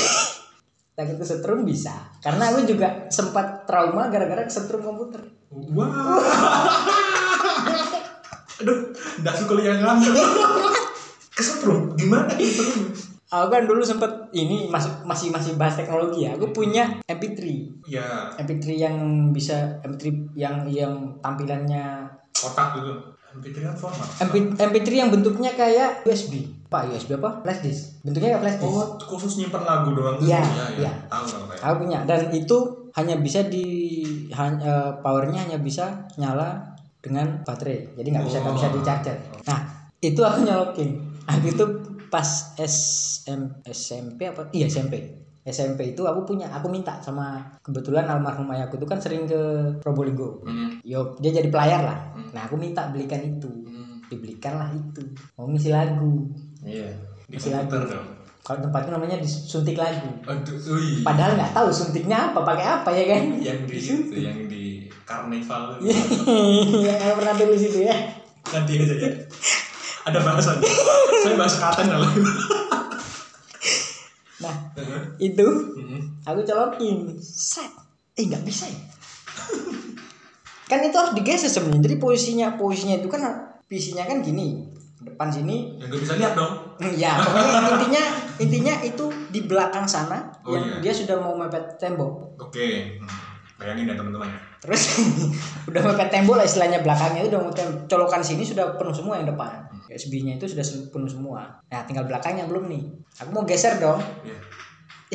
Takut kesetrum bisa. Karena aku juga sempat trauma gara-gara kesetrum komputer. Wah. Aduh, enggak suka liangan. kesetrum gimana kesetrum? Aku kan dulu sempet ini masih masih masih bahas teknologi ya. Aku punya MP3. Ya, MP3 yang bisa MP3 yang yang tampilannya otak gitu. MP3 kan format. MP, MP3 yang bentuknya kayak USB. Apa USB apa? Flash disk. Bentuknya kayak flash disk. Oh, khusus nyimpen lagu doang gitu. Iya, iya. Tahu tahu kayak. Aku punya dan itu hanya bisa di han- eh, powernya hanya bisa nyala dengan baterai. Jadi nggak bisa nggak bisa di charger. Nah, itu aku nyolokin. Aku itu pas SM, SMP apa? Iya, SMP. SMP itu aku punya, aku minta sama kebetulan almarhum ayahku itu kan sering ke Probolinggo. Hmm. Yo, dia jadi pelayar lah. Nah, aku minta belikan itu. Hmm. Dibelikan lah itu. Mau ngisi lagu. Iya. Di Masih komputer dong. Kalau tempatku namanya disuntik lagu. Aduh, ui. Padahal nggak tahu suntiknya apa, pakai apa ya kan? yang di itu, yang di karnival Iya. itu. yang aku pernah tulis itu ya. nanti aja ya ada bahasannya saya bahas katen lah Nah, itu aku colokin. Set. Eh, nggak bisa ya. kan itu harus digeser sebenarnya. Jadi posisinya posisinya itu kan PC-nya kan gini. Depan sini, yang gak bisa lihat dong Ya, pokoknya intinya intinya itu di belakang sana Oh, yang iya. dia sudah mau mepet tembok. oke Hmm. bayangin ya teman-teman ya Terus udah mepet tembok lah istilahnya belakangnya itu udah mau tem- colokan sini sudah penuh semua yang depan. USB-nya itu sudah se- penuh semua. Nah, tinggal belakangnya belum nih. Aku mau geser dong. Iya.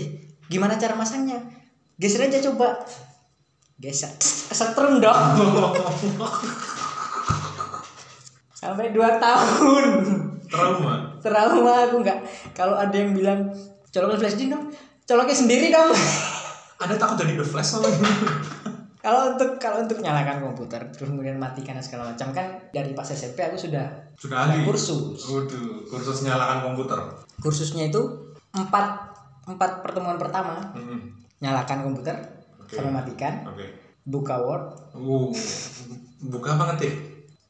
Eh, gimana cara masangnya? Geser aja coba. Geser. Setrum dong. Sampai 2 tahun. trauma trauma aku nggak kalau ada yang bilang colokin flash disk dong colokin sendiri dong ada takut jadi the flash soalnya kalau untuk kalau untuk nyalakan komputer terus kemudian matikan dan segala macam kan dari pas SMP aku sudah sudah ahli kursus Waduh, kursus nyalakan komputer kursusnya itu empat empat pertemuan pertama Hmm. nyalakan komputer Oke. sama matikan oke buka word Uh, buka apa ngetik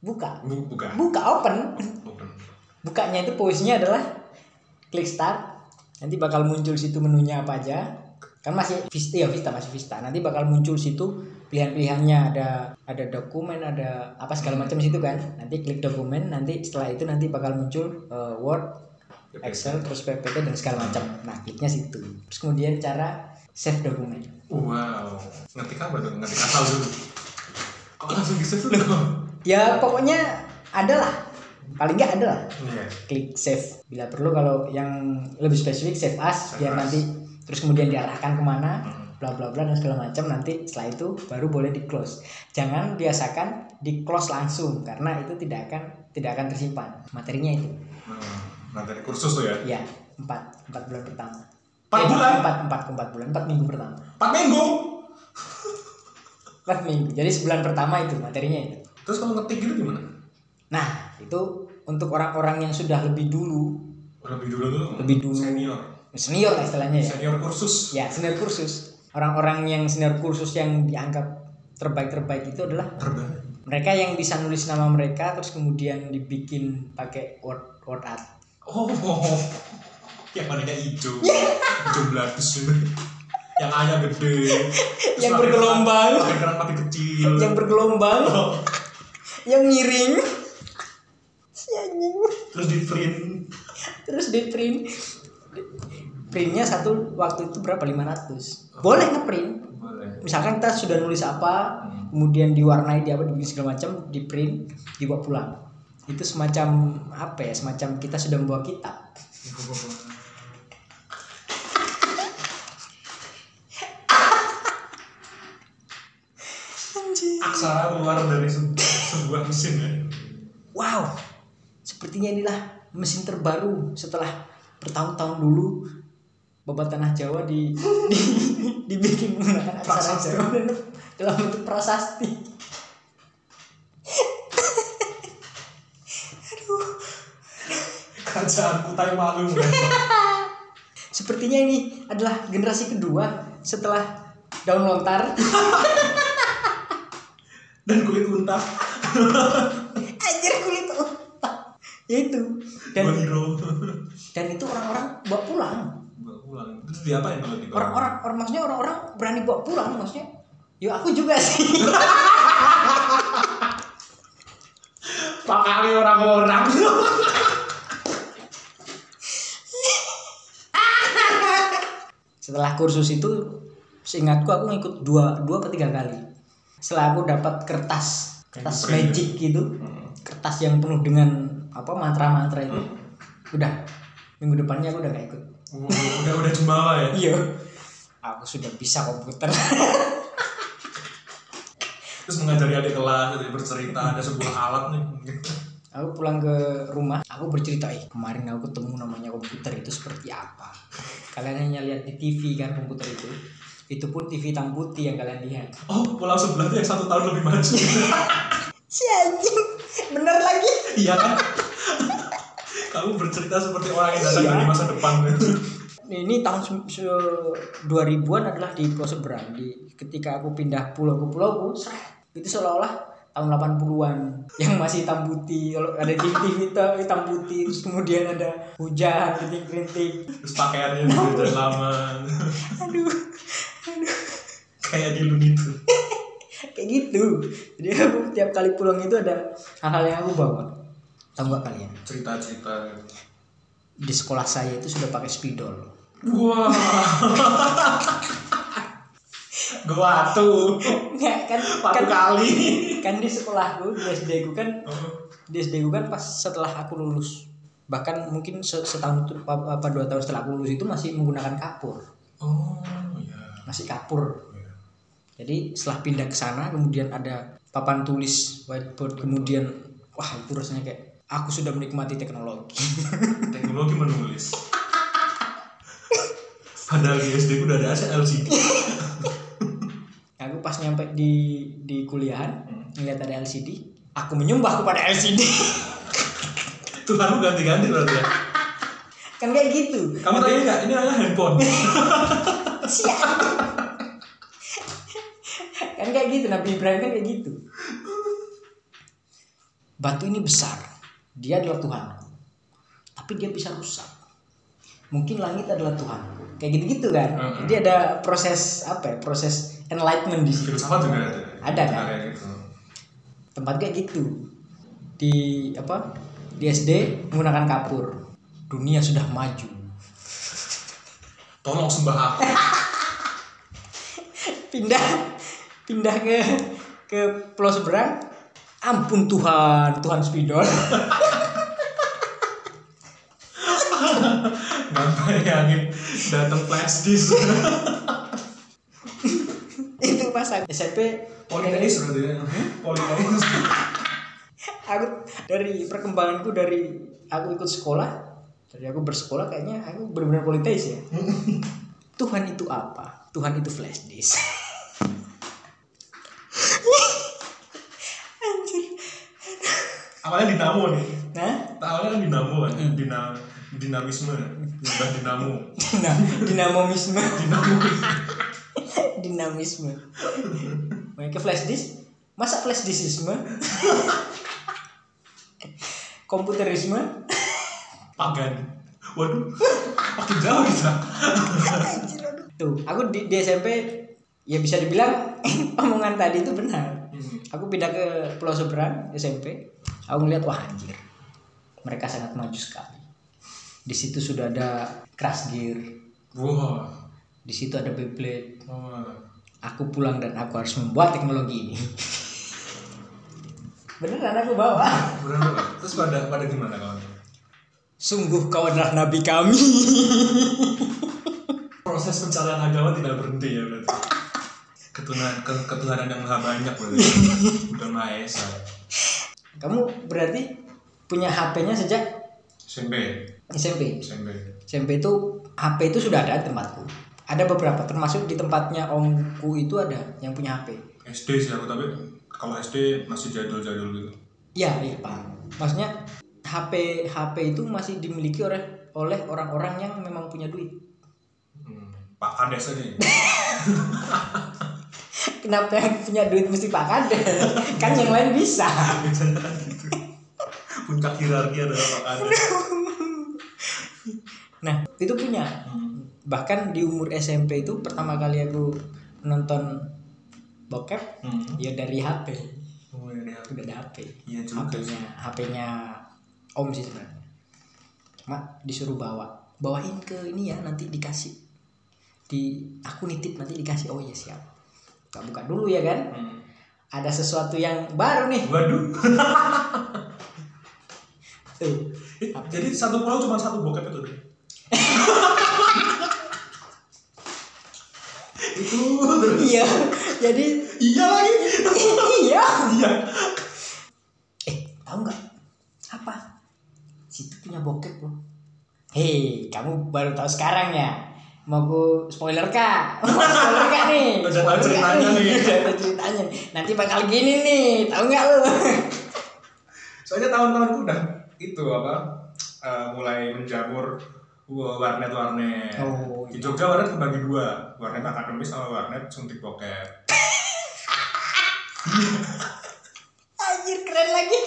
buka Bu, buka buka open Bukan. bukanya itu posisinya adalah klik start nanti bakal muncul situ menunya apa aja kan masih Vista ya Vista masih Vista nanti bakal muncul situ pilihan-pilihannya ada ada dokumen ada apa segala macam situ kan nanti klik dokumen nanti setelah itu nanti bakal muncul eh, Word PPT. Excel terus PPT dan segala macam nah kliknya situ terus kemudian cara save dokumen wow ngetik apa dong ngetik asal dulu kok langsung bisa tuh ya pokoknya adalah paling nggak ada lah Iya. klik save bila perlu kalau yang lebih spesifik save as Save biar as. nanti terus kemudian diarahkan kemana Hmm. bla bla bla dan segala macam nanti setelah itu baru boleh di close jangan biasakan di close langsung karena itu tidak akan tidak akan tersimpan materinya itu Hmm. Nanti ada kursus tuh ya. ya empat empat bulan pertama Empat Eh, bulan? empat empat empat bulan empat minggu pertama 4 minggu. empat minggu jadi sebulan pertama itu materinya itu Terus kalau ngetik gitu gimana? nah itu untuk orang-orang yang sudah lebih dulu Lebih dulu tuh. Lebih dulu. Senior. senior lah istilahnya ya Senior kursus. ya senior kursus orang-orang yang senior kursus yang dianggap terbaik terbaik itu adalah Terbaik. mereka yang bisa nulis nama mereka terus kemudian dibikin pakai word word art Oh. Yang warnanya hijau. Ya. Hijau belabis. Yang ayah gede. Terus Yang pakai bergelombang. keran- Pakai keran mati kecil. yang bergelombang Oh. yang miring si anjing Terus di print. terus di print printnya satu waktu itu berapa 500 boleh ngeprint Boleh. misalkan kita sudah nulis apa kemudian diwarnai di apa dibikin segala macam di print dibawa pulang itu semacam apa ya semacam kita sudah membawa kitab Anjir. Aksara keluar dari se- sebuah mesin ya. wow sepertinya inilah mesin terbaru setelah bertahun-tahun dulu babat tanah Jawa di, di dibikin menggunakan aksara Prasasti. Jawa dalam- dalam bentuk prasasti Kerjaan kutai malu. ya. Sepertinya ini adalah generasi kedua setelah daun lontar. Dan kulit unta. Anjir kulit otak. Ya itu. Dan Gondrong. dan itu orang-orang bawa pulang. Bawa pulang. Terus diapain kalau di Orang-orang orang maksudnya orang-orang berani bawa pulang maksudnya. Ya aku juga sih. Pakai orang-orang. Setelah kursus itu seingatku aku ngikut dua dua ke tiga kali. Setelah aku dapat kertas kertas Kayak magic gitu. Kertas yang penuh dengan apa mantra-mantra itu. Udah minggu depannya aku udah gak ikut. udah udah jumawa ya. Iya. Aku sudah bisa komputer. Terus mengajari adik kelas, jadi bercerita ada sebuah alat nih. aku pulang ke rumah, aku bercerita, eh kemarin aku ketemu namanya komputer itu seperti apa. Kalian hanya lihat di TV kan komputer itu. Itu pun TV hitam putih yang kalian lihat. Oh, pulau sebelah tuh yang satu tahun lebih maju. Si anjing, bener lagi. iya kan? Kamu bercerita seperti orang yang datang Iya. dari masa depan. Ini tahun se- se- 2000-an adalah di Pulau Seberang. Di ketika aku pindah pulau ke pulau seret. Itu seolah-olah tahun 80-an yang masih hitam putih kalau ada di TV itu hitam putih terus kemudian ada hujan rintik-rintik Terus pakaiannya juga dari lama. aduh aduh Kayak di Looney itu. kayak gitu jadi aku tiap kali pulang itu ada hal-hal yang aku bawa tahu nggak kalian Cerita-cerita. di sekolah saya itu sudah pakai spidol Wah. Gua tuh nggak kan satu kan, kali. Oh, kan di sekolahku di SD ku kan di SD ku kan pas setelah aku lulus bahkan mungkin se- setahun itu- apa apa dua tahun setelah aku lulus itu masih menggunakan kapur Oh, ya. masih kapur Jadi setelah pindah ke sana kemudian ada papan tulis whiteboard kemudian wah itu rasanya kayak aku sudah menikmati teknologi. Teknologi menulis. Padahal di SD ku udah ada aja LCD. aku pas nyampe di di kuliahan ngeliat ada LCD, aku menyembah kepada LCD. Tuhan lu ganti-ganti berarti ya. kan kayak gitu. Kamu tanya nggak? Ini hanya handphone. Siap. kan kayak gitu Nabi Ibrahim kan kayak gitu. Batu ini besar. Dia adalah Tuhanku. Tapi dia bisa rusak. Mungkin langit adalah Tuhanku. Kayak gitu-gitu kan. Mm-mm. Jadi ada proses apa ya? Proses enlightenment di situ. Filsafat juga ada. Ada, kan? Kayak gitu. Tempat kayak gitu. Di apa? Di SD menggunakan kapur. Dunia sudah maju. Tolong sembah aku. pindah pindah ke ke pulau seberang ampun Tuhan Tuhan spidol bayangin datang flash disk itu pas aku SMP politeis berarti ya politeis aku dari perkembanganku dari aku ikut sekolah dari aku bersekolah kayaknya aku benar-benar politeis ya Tuhan itu apa Tuhan itu flash disk anjir awalnya dinamo nih nah awalnya kan dinamo kan Dina- dinamisme berubah dinamo nah dinamisme dinamo dinamisme mereka flash disk masa flash diskisme komputerisme pagan waduh makin jauh kita tuh aku di, di SMP ya bisa dibilang omongan tadi itu benar aku pindah ke Pulau Seberang SMP aku ngeliat wah anjir mereka sangat maju sekali di situ sudah ada crash gear wah di situ ada Beyblade wah. aku pulang dan aku harus membuat teknologi ini beneran aku bawa benar benar. terus pada pada gimana gitu? kawan sungguh kau adalah nabi kami proses pencarian agama tidak berhenti ya berarti ketuhanan ke- ketuhanan yang maha banyak berarti bukan maha esa kamu berarti punya HP-nya sejak SMP SMP SMP SMP itu HP itu sudah ada di tempatku. Ada beberapa termasuk di tempatnya omku itu ada yang punya HP. SD sih aku tapi kalau SD masih jadul-jadul gitu Iya, iya paham. Maksudnya HP HP itu masih dimiliki oleh oleh orang-orang yang memang punya duit. hmm. Pak Kades aja nih Kenapa yang punya duit mesti Pak Kades? kan yang lain bisa. biasanya kan gitu puncak hierarki adalah Pak Kades Nah, itu punya. Hmm. Bahkan di umur SMP itu pertama kali aku nonton bokep Hmm. ya dari HP. Oh, ini aku- Udah ada HP. Iya juga sih. HP-nya HP-nya Om sih sebenarnya. Cuma disuruh bawa, bawain ke ini ya nanti dikasih. Di aku nitip nanti dikasih. Oh iya siap. Kita buka dulu ya kan. Hmm. Ada sesuatu yang baru nih. Waduh. Tuh. Eh, Jadi satu pulau cuma satu bokep itu. deh. itu iya. Jadi iya lagi. iya. Iya. Eh, tahu nggak? Apa? Situ punya bokep loh. Hei, kamu baru tahu sekarang ya? Mau ku spoiler kak? Mau spoiler kak nih? Udah Spoiler nggak tahu ceritanya nih. Udah tahu ceritanya. Nanti bakal gini nih, tahu nggak lo? Soalnya tahun-tahunku udah itu apa? eh, mulai menjamur wah, warnet-warnet. Oh, Di Jogja warnet kebagi dua, warnet akademis sama warnet suntik bokep. Anjir keren lagi.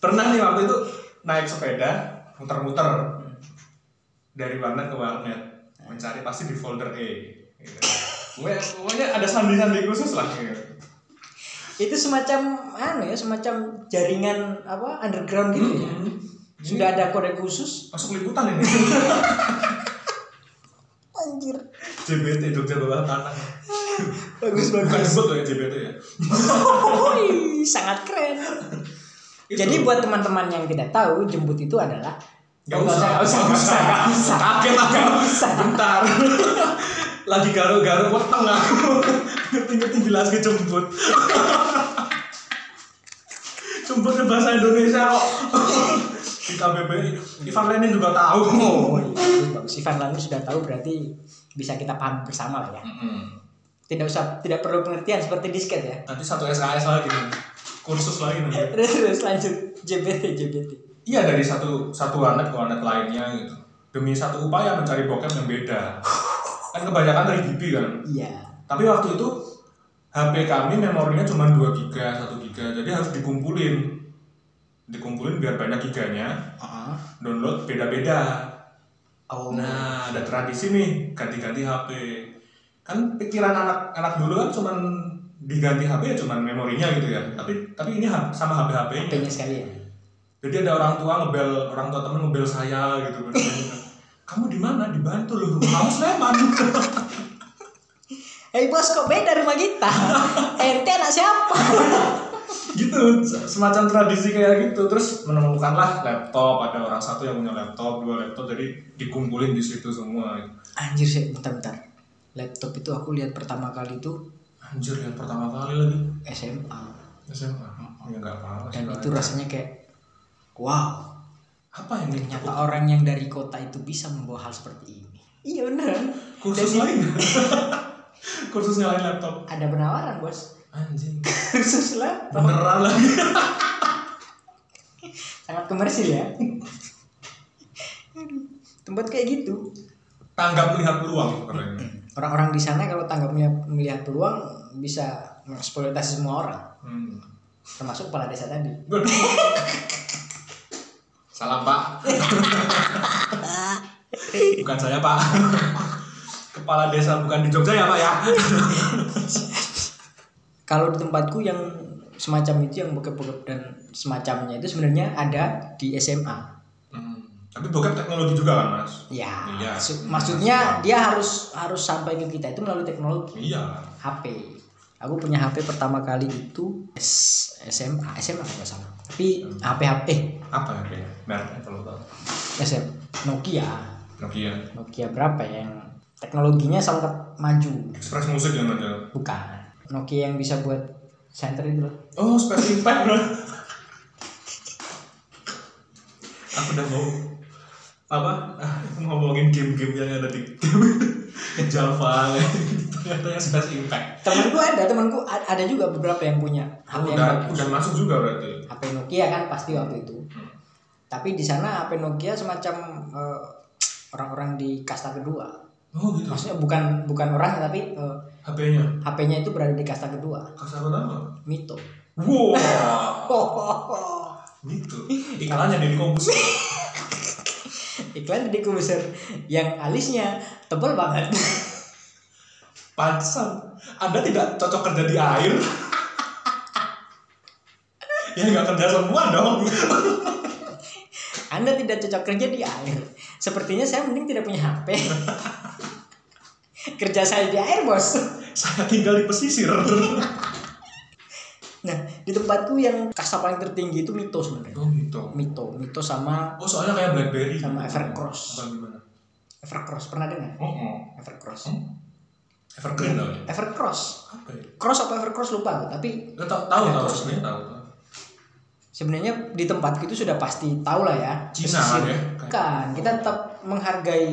Pernah nih waktu itu naik sepeda, muter-muter dari warnet ke warnet, mencari pasti di folder E. Gitu. Pokoknya, pokoknya ada sandi-sandi khusus lah. Gitu. Itu semacam anu ya, semacam jaringan apa underground gitu ya. Hmm. Sudah ada kode khusus. masuk liputan ini Anjir. JBT Jogja Bawah Tanah Bagus bukan bagus. disebut loh ya JBT ya Woi, sangat keren. Itu. Jadi buat teman-teman yang tidak tahu, jemput itu adalah Gak usah, Gak usah, gak usah, gak usah. Kaget aku Gak usah. Bentar Lagi garu-garu weteng aku Ngerti-ngerti jelas ke jemput Jemputnya bahasa Indonesia kok Di KBBI Ivan Lenin juga tahu Oh, iya. Bagus, bagus. Ivan Lanur sudah tahu berarti bisa kita paham bersama lah ya. Mm-mm. Tidak usah tidak perlu pengertian seperti disket ya. Nanti satu SKS lagi nih Kursus lagi nih Terus, terus lanjut JBT JBT. Iya dari satu satu warnet ke warnet lainnya gitu demi satu upaya mencari bokep yang beda kan kebanyakan dari GB kan Iya. tapi waktu itu HP kami memorinya cuma 2 giga 1 giga jadi harus dikumpulin dikumpulin biar banyak giganya download beda-beda Oh. nah ada tradisi nih ganti-ganti HP kan pikiran anak-anak dulu kan cuma diganti HP ya cuma memorinya gitu ya tapi tapi ini ha- sama HP-HP-nya HP-nya sekali ya. jadi ada orang tua ngebel orang tua temen ngebel saya gitu kamu di mana di Bantul loh kamu Sleman Hei bos kok beda rumah kita? Ente anak siapa? gitu se- semacam tradisi kayak gitu terus menemukanlah laptop ada orang satu yang punya laptop dua laptop jadi dikumpulin di situ semua Anjir sih, bentar-bentar. Laptop itu aku lihat pertama kali itu anjir yang pertama kali lagi SMA. SMA ya nggak apa-apa sih, Dan Pak. itu rasanya kayak wow. apa ini Ternyata orang yang dari kota itu bisa membawa hal seperti ini. Iya benar. kursus lain kursus nyalain laptop Ada penawaran bos. anjing Khusus lah. beneran lagi Sangat komersil ya. Aduh, Tempat kayak gitu. tanggap melihat peluang keren Orang-orang di sana kalau tanggap melihat, melihat peluang bisa mengeksploitasi semua orang, hmm. termasuk kepala desa tadi. Waduh. salam pak bukan saya pak kepala desa bukan di Jogja ya pak ya Kalau di tempatku yang semacam itu yang bokep-bokep dan semacamnya itu sebenarnya ada di SMA. Hmm, tapi bokep teknologi juga kan mas Ya, Iya. su- maksudnya dia harus harus sampai ke kita itu melalui teknologi iya HP. Aku punya HP pertama kali itu S- SMA, SMA kalau nggak salah. Tapi HP HP eh apa ya kayak mereknya kalau tahu SM Nokia. Nokia Nokia berapa ya yang teknologinya sangat maju? Express Music ya, yang ada Bukan. Nokia yang bisa buat center itu loh. oh Space Impact bro aku udah mau apa ah, ngomongin game-game yang ada di Java gitu. ternyata yang Space Impact Temanku ada, temanku a- ada juga beberapa yang punya HP yang Oh, udah bagus. udah masuk juga berarti HP Nokia kan pasti waktu itu. Tapi di sana HP Nokia semacam eh, orang-orang di kasta kedua. oh gitu Maksudnya bukan bukan orang tapi eh, HP-nya HP-nya itu berada di kasta kedua. kasar pertama Mito. wow Oh, gitu iklannya di kompus Iklan di Kubuser yang alisnya tebal banget. Pansan, Anda tidak cocok kerja di air. ya nggak kerja semua dong. Anda tidak cocok kerja di air. Sepertinya saya mending tidak punya HP. kerja saya di air, Bos. Saya tinggal di pesisir. Nah, di tempatku yang kasta paling tertinggi itu Mito sebenarnya. oh gitu. Mito, Mito sama Oh soalnya kayak BlackBerry. Sama gitu. Evercross. Apa gimana? Evercross. Pernah dengar? Oh, oh. Evercross. Hmm? Evergreen tau ya? Evercross. Apa ya? Cross apa Evercross lupa aku, tapi Nggak tahu tahu tahu Evercross. sebenarnya tahu. sebenarnya di tempatku itu sudah pasti tahu lah ya. pesisir. Cina kan ya? Bukan, kita tetap menghargai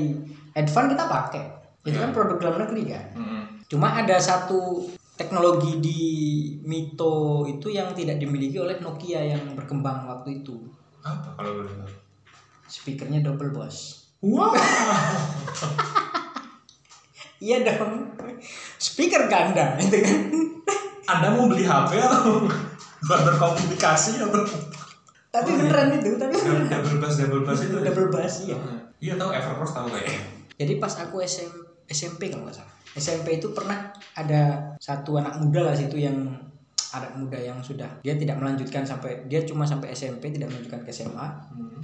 headphone kita pakai. Itu kan Iya. produk dalam negeri kan. Mm-mm. Cuma ada satu teknologi di Mito itu yang tidak dimiliki oleh Nokia yang berkembang waktu itu. Apa kalau boleh tahu? Speakernya double boss. Wah. Iya dong. Speaker ganda itu kan. Anda mau beli HP atau buat berkomunikasi atau Tapi Oh, iya. beneran itu, tapi beneran. double bass double bass itu? ya? double bass iya. Iya tahu Evercross tahu kayaknya. Jadi pas aku SM, SMP kalau nggak salah. SMP itu pernah ada satu anak muda lah situ yang anak muda yang sudah dia tidak melanjutkan sampai dia cuma sampai SMP tidak melanjutkan ke SMA Hmm.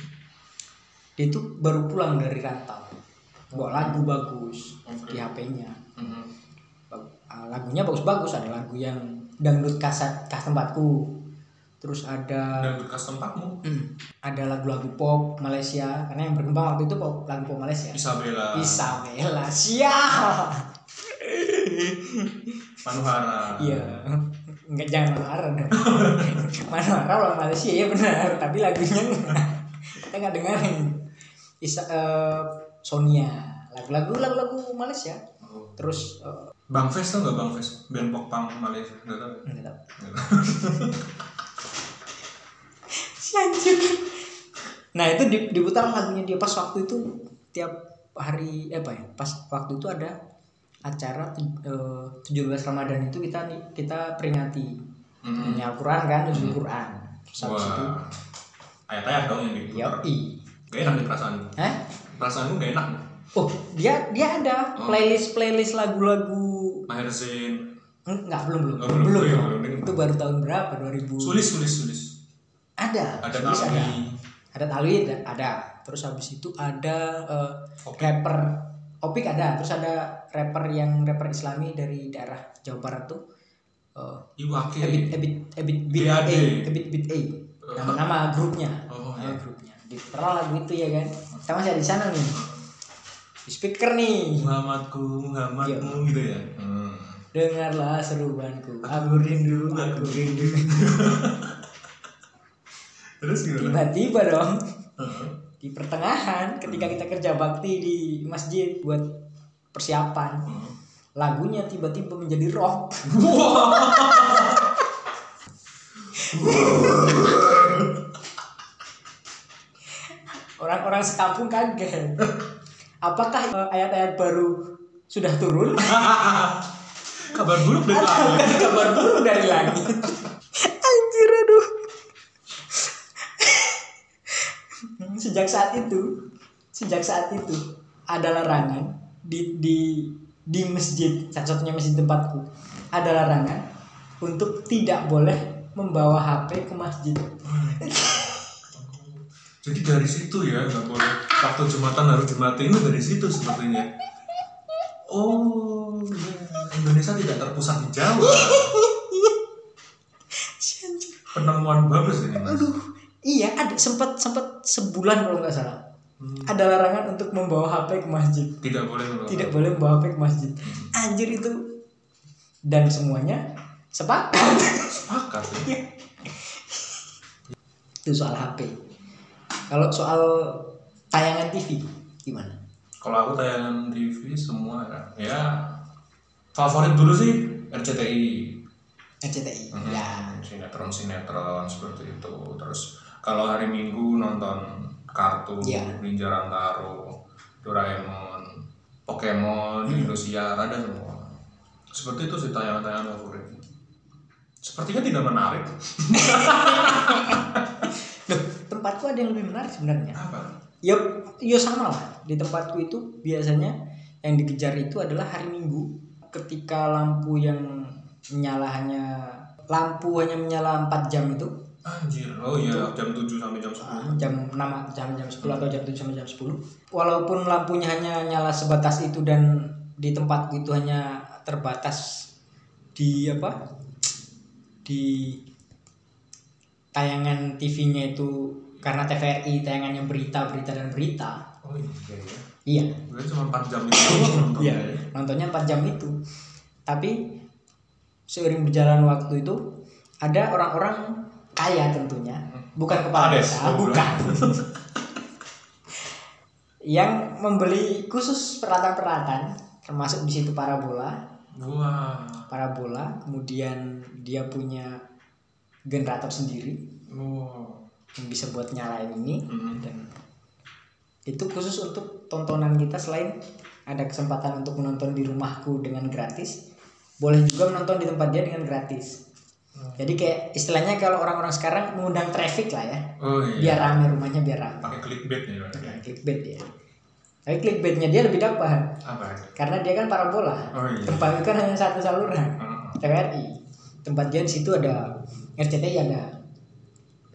dia itu baru pulang dari rantau bawa lagu bagus di Oke. HP-nya Mm-mm. Bag- ah, lagunya bagus-bagus ada lagu yang dangdut kasat khas tempatku terus ada Dan bekas tempatmu Mm, ada lagu-lagu pop Malaysia karena yang berkembang waktu itu pop lagu pop Malaysia Isabella Isabella sial Manuhara iya nggak jangan marah dong marah orang Malaysia ya benar tapi lagunya nggak- kita nggak dengerin Isa eh, Sonia lagu-lagu lagu-lagu Malaysia Oh. terus eh, Bang Fes tau gak Bang Fes? Band pop punk Malaysia Gak tau nggak tahu Nggak tahu. si anjing. nah itu di- diputar lagunya dia pas waktu itu tiap hari eh, apa ya pas waktu itu ada acara tu- eh, 17 Ramadan itu kita ni- kita peringati Mm. punya Al-Quran kan usul Quran terus habis itu Wah Ayat-ayat dong yang diputar yoi Gak enak nih perasaanmu Hah? Perasaanmu gak enak oh dia dia ada Oh. playlist playlist lagu-lagu Maher Zain enggak belum belum Oh, belum, belum, iya, dong. belum. itu baru tahun berapa 2000 Sulis Sulis Sulis ada Ada Sulis Tali ada tali ada, ada. terus habis itu ada eh, Opik. rapper opik ada terus ada rapper yang rapper islami dari daerah Jawa Barat tuh oh Iwake. Ebit Ebit Ebit Bit A BAD. Ebit Bit A nama-nama grupnya Oh, nama grupnya diteral lagu itu ya kan kita masih ada di sana nih di speaker nih Muhammadku, Muhammadmu Iya. gitu ya. Hmm. dengarlah seruanku aku rindu, aku rindu. Terus gimana? tiba-tiba dong Gitu. Heeh. di pertengahan ketika kita kerja bakti di masjid buat persiapan Heeh. lagunya tiba-tiba menjadi rock orang-orang sekampung kaget apakah eh, ayat-ayat baru sudah turun Kabar buruk dari atau kamu. ada kabar buruk dari langit anjir aduh sejak saat itu sejak saat itu ada larangan di di di masjid satu-satunya masjid tempatku ada larangan untuk tidak boleh membawa HP ke masjid Jadi dari situ ya nggak boleh waktu jumatan harus jumatin itu dari situ sepertinya. Oh, iya. Indonesia tidak terpusat di Jawa. Penemuan bagus ini mas. aduh iya ada sempat sempat sebulan kalau nggak salah ada larangan untuk membawa HP ke masjid Tidak boleh membawa. tidak boleh membawa HP ke masjid anjir itu dan semuanya sepakat Sepakat. Ya. itu soal HP kalau soal tayangan TV gimana Kalau aku tayangan TV semua ya. ya favorit dulu sih RCTI. RCTI Mhm. ya Sinetron sinetron seperti itu. Terus kalau hari Minggu nonton kartu Iya. Ninja Rantaro, Doraemon, Hmm. Pokemon, Indosiar ada semua. Seperti itu sih tayangan-tayangan favorit. Sepertinya tidak menarik. Loh, tempatku ada yang lebih menarik sebenarnya Apa? ya ya sama lah di tempatku itu biasanya yang dikejar itu adalah hari minggu ketika lampu yang menyala hanya lampu hanya menyala 4 jam itu Anjir, oh iya jam 7 sampai jam 10. Ah, jam 6 jam jam 10 atau jam 7 sampai jam 10 walaupun lampunya hanya nyala sebatas itu dan di tempat itu hanya terbatas di apa di tayangan TV-nya itu karena TVRI tayangannya berita berita dan berita Oh iya ya. iya Berarti cuma 4 jam itu nonton Iya, ya. nontonnya 4 jam itu. Tapi seiring berjalan waktu itu ada orang-orang kaya tentunya, bukan kepala Ades, desa, gua bukan. yang membeli khusus peralatan-peralatan termasuk di situ parabola, Wah, parabola, kemudian dia punya generator sendiri wow. yang bisa buat nyalain ini Mm. dan itu khusus untuk tontonan kita selain ada kesempatan untuk menonton di rumahku dengan gratis boleh juga menonton di tempat dia dengan gratis Hmm. jadi kayak istilahnya kalau orang-orang sekarang mengundang traffic lah ya Oh biar iya. rame rumahnya biar rame Pakai clickbait nih Pak. Nah, clickbait ya tapi clickbaitnya dia lebih dapat Apa? karena dia kan parabola Oh iya. tempatku kan hanya satu saluran Hmm. TVRI tempat dia di situ ada RCTI ada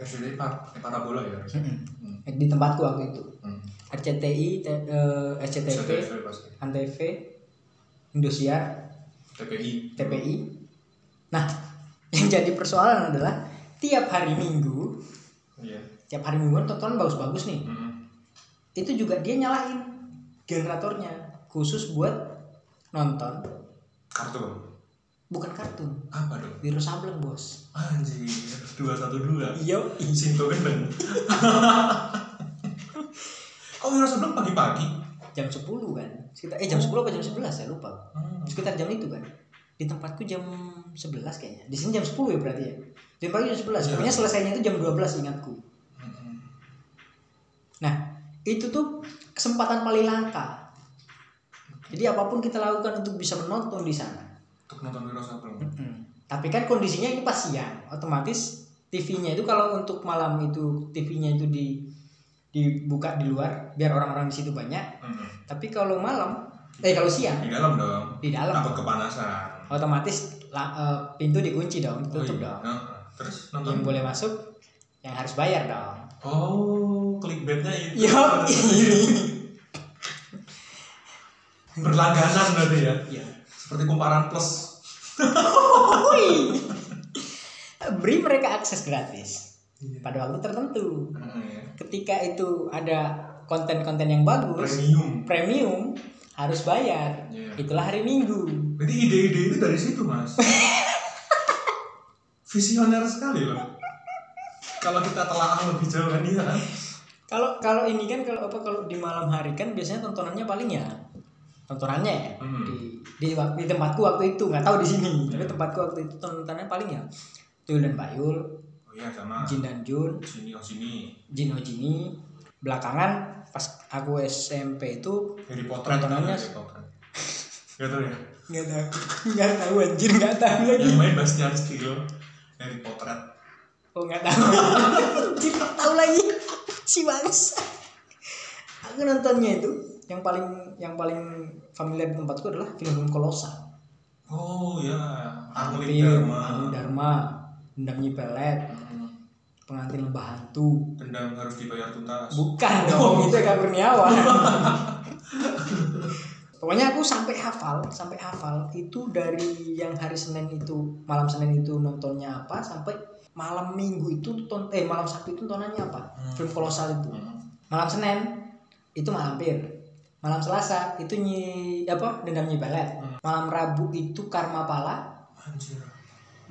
RCTI par parabola ya. Hmm. di tempatku waktu itu Hmm. RCTI, te- eh, RCTP, RCTI pasti. Antv, Indosiar, TPI. TPI. Nah, yang jadi persoalan adalah tiap hari Minggu, Iya. tiap hari Minggu kan tontonan bagus-bagus nih. Hmm. Itu juga dia nyalain generatornya khusus buat nonton, Kartu. bukan kartun. Apa dong? Wiro Sableng, Bos. Anjir, 212. Iya, Sinto Benden. Kok Wiro sebelum pagi-pagi? jam 10 kan. Sekitar eh jam 10 apa jam 11 ya lupa. Hmm. Sekitar jam itu kan. Di tempatku jam 11 kayaknya. Di sini jam 10 ya berarti ya. Di tempatku jam 11. Iya. Pokoknya selesainya itu jam 12 ingatku. Hmm. Nah, itu tuh kesempatan paling langka. Jadi apapun kita lakukan untuk bisa menonton di sana. Untuk nonton Wiro sebelum. Mm-mm. Tapi kan kondisinya ini pas siang, otomatis TV-nya itu kalau untuk malam itu TV-nya itu di dibuka di luar biar orang-orang di situ banyak. Hmm. Tapi kalau malam, eh kalau siang Di dalam dong. di dalam Takut kepanasan. otomatis la- eh, pintu dikunci dong, ditutup iya. dong. Heeh. Terus Yang nonton. boleh masuk yang harus bayar dong. Oh, clickbaitnya itu. Yo, Berlangganan berarti ya. Iya. Iya. Seperti kumparan plus. Woi. Beri mereka akses gratis pada waktu tertentu. Heeh, ya. Ketika itu ada konten-konten yang bagus, premium premium harus bayar. Iya. Itulah hari Minggu. berarti ide-ide itu dari situ mas visioner sekali loh kalau kita telah lebih jauh kan iya kan Kalau kalau ini kan kalau apa kalau di malam hari kan biasanya tontonannya paling ya tontonannya ya Hmm. di di, wak- di tempatku waktu itu nggak tahu di sini tapi Hmm. tempatku waktu itu tontonannya paling ya Tuyul dan Bayul, oh iya sama Jin dan Jun, sini oh sini Jino Jini. Belakangan pas aku SMP itu Harry Potter Peraturannya- Harry Potter Gak tau ya nggak tahu nggak tahu anjir nggak tahu lagi. yang main Bastian Steele Harry Potter Oh nggak tahu. Anjir nggak tahu lagi si bangsa. Aku nontonnya itu yang paling yang paling familiar di tempatku adalah film kolosal. oh ya Hampir, Angling Dharma Anu Dharma, Dendam Nyi Pelet, Hmm. Pengantin Lembah Hantu. dendam harus dibayar tuntas Bukan dong, itu Eka Kurniawan. Pokoknya aku sampai hafal, sampai hafal itu dari yang hari Senin itu, malam Senin itu nontonnya apa sampai malam Minggu itu ton eh malam Sabtu itu tontonannya apa? Hmm. Film kolosal itu. Hmm. Malam Senin itu malampir. Malam Selasa itu nyi apa? Dendam Nyi Pelet. Hmm. Malam Rabu itu Karma Pala. anjir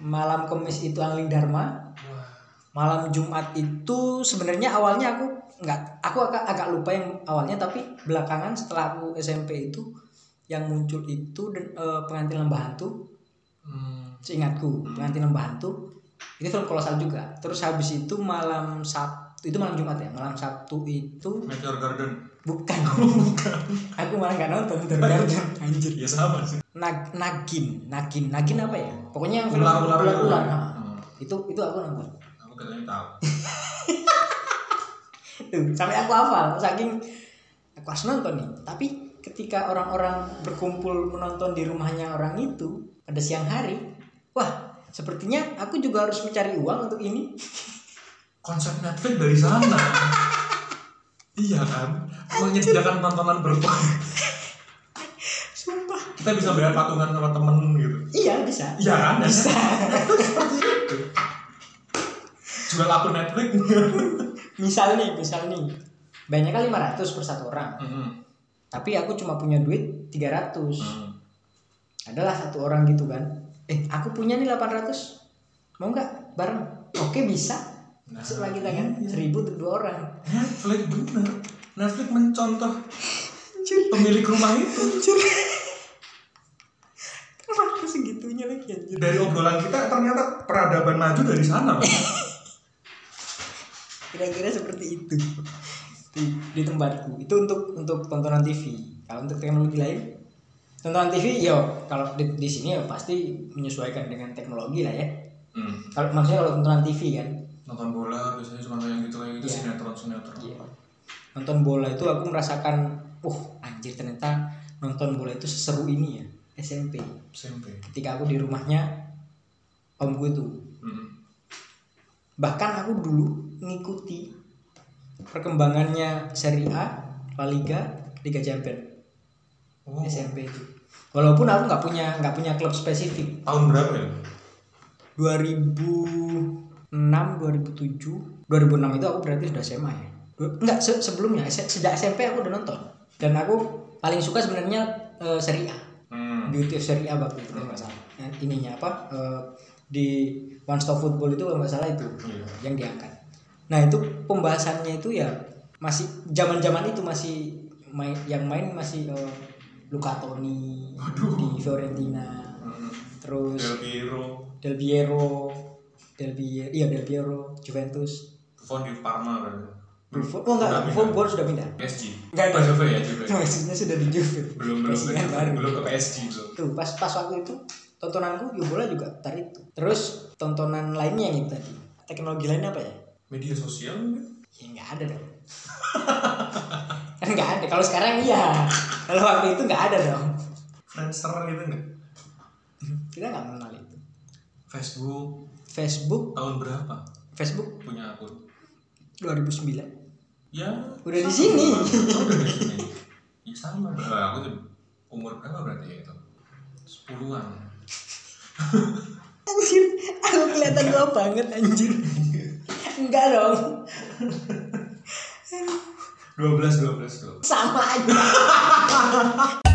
Malam Kamis itu Angling Dharma. wah malam Jumat itu sebenarnya awalnya aku nggak aku agak agak lupa yang awalnya tapi belakangan setelah aku SMP itu yang muncul itu dan, eh, pengantin lembah hantu Hmm. seingatku Hmm. pengantin lembah hantu itu film kolosal juga terus habis itu malam Sabtu itu malam Jumat ya malam Sabtu itu Meteor Garden bukan aku malah nggak nonton tergantung anjir ya sama sih Nag- nagin nagin nagin apa ya pokoknya yang film ular-ular itu. ular-ular, nah. Hmm. itu itu aku nonton aku katanya tahu Tuh, sampai aku hafal saking aku harus nonton nih tapi ketika orang-orang berkumpul menonton di rumahnya orang itu pada siang hari wah sepertinya aku juga harus mencari uang untuk ini konsep Netflix dari sana iya kan menyediakan tontonan berkualitas sumpah kita bisa bayar patungan sama temen gitu iya bisa iya kan bisa seperti itu jual akun Netflix misal nih misal nih banyaknya 500 per satu orang Mm-mm. tapi aku cuma punya duit 300 Mm. adalah satu orang gitu kan eh aku punya nih 800 mau nggak bareng oke bisa Nah, setelah kita kan iya. seribu untuk dua orang Netflix bener Netflix mencontoh Anjir. pemilik rumah itu Anjir. Kenapa segitunya lagi anjir? dari obrolan kita ternyata peradaban maju dari sana Mas. Kira-kira seperti itu. Di, di tempatku. Itu untuk untuk tontonan TV. Kalau untuk teknologi lain tontonan TV yo kalau di, di sini ya pasti menyesuaikan dengan teknologi lah ya. Mm. Kalau maksudnya kalau tontonan TV kan. nonton bola biasanya cuma kayak gitu kayak gitu Iya. sinetron sinetron Iya. Nonton bola itu aku merasakan, uh anjir ternyata nonton bola itu seseru ini ya SMP. SMP Ketika aku di rumahnya omku itu Mm. bahkan aku dulu ngikuti perkembangannya Serie A, La Liga, Liga Champions Oh. SMP itu. Walaupun aku nggak punya nggak punya klub spesifik. tahun berapa ya 2006, 2007, 2006 itu aku berarti sudah SMA ya. Du- Nggak se- sebelumnya se- sejak SMP aku udah nonton dan aku paling suka sebenarnya eh, Serie A. Hmm. Beauty of Serie A waktu itu kalau nggak salah. Nah, ininya apa eh, di One Stop Football itu kalau nggak salah itu Iya. yang diangkat. Nah itu pembahasannya itu ya masih zaman-zaman itu masih main, yang main masih eh, Luca Toni di Fiorentina, Hmm. Del terus Piero, Del Piero, Del Piero, iya Del Piero, Juventus, Buffon di Parma kan. Buffon, oh enggak, Sudah Buffon pindah. Ball sudah pindah. PSG. Enggak, Pas Juve ya Juve. Maksudnya sudah di Juve. Belum belum Kasihan baru. belum ke PSG belum. tuh pas pas waktu itu tontonanku ya bola juga tadi itu terus tontonan lainnya yang itu tadi teknologi lain apa ya Media sosial mungkin? ya nggak ada dong kan nggak ada kalau sekarang iya kalau waktu itu nggak ada dong Friendster gitu enggak? kita nggak mengenal itu Facebook Facebook tahun berapa Facebook punya akun? 2009 Ya, Udah di sama. sini. Udah di sini. Iya, Ya sama. Nah, aku tuh umur berapa berarti ya itu? Sepuluhan. Anjir, aku kelihatan tua banget anjir. Enggak dong, 12 12 12. sama aja.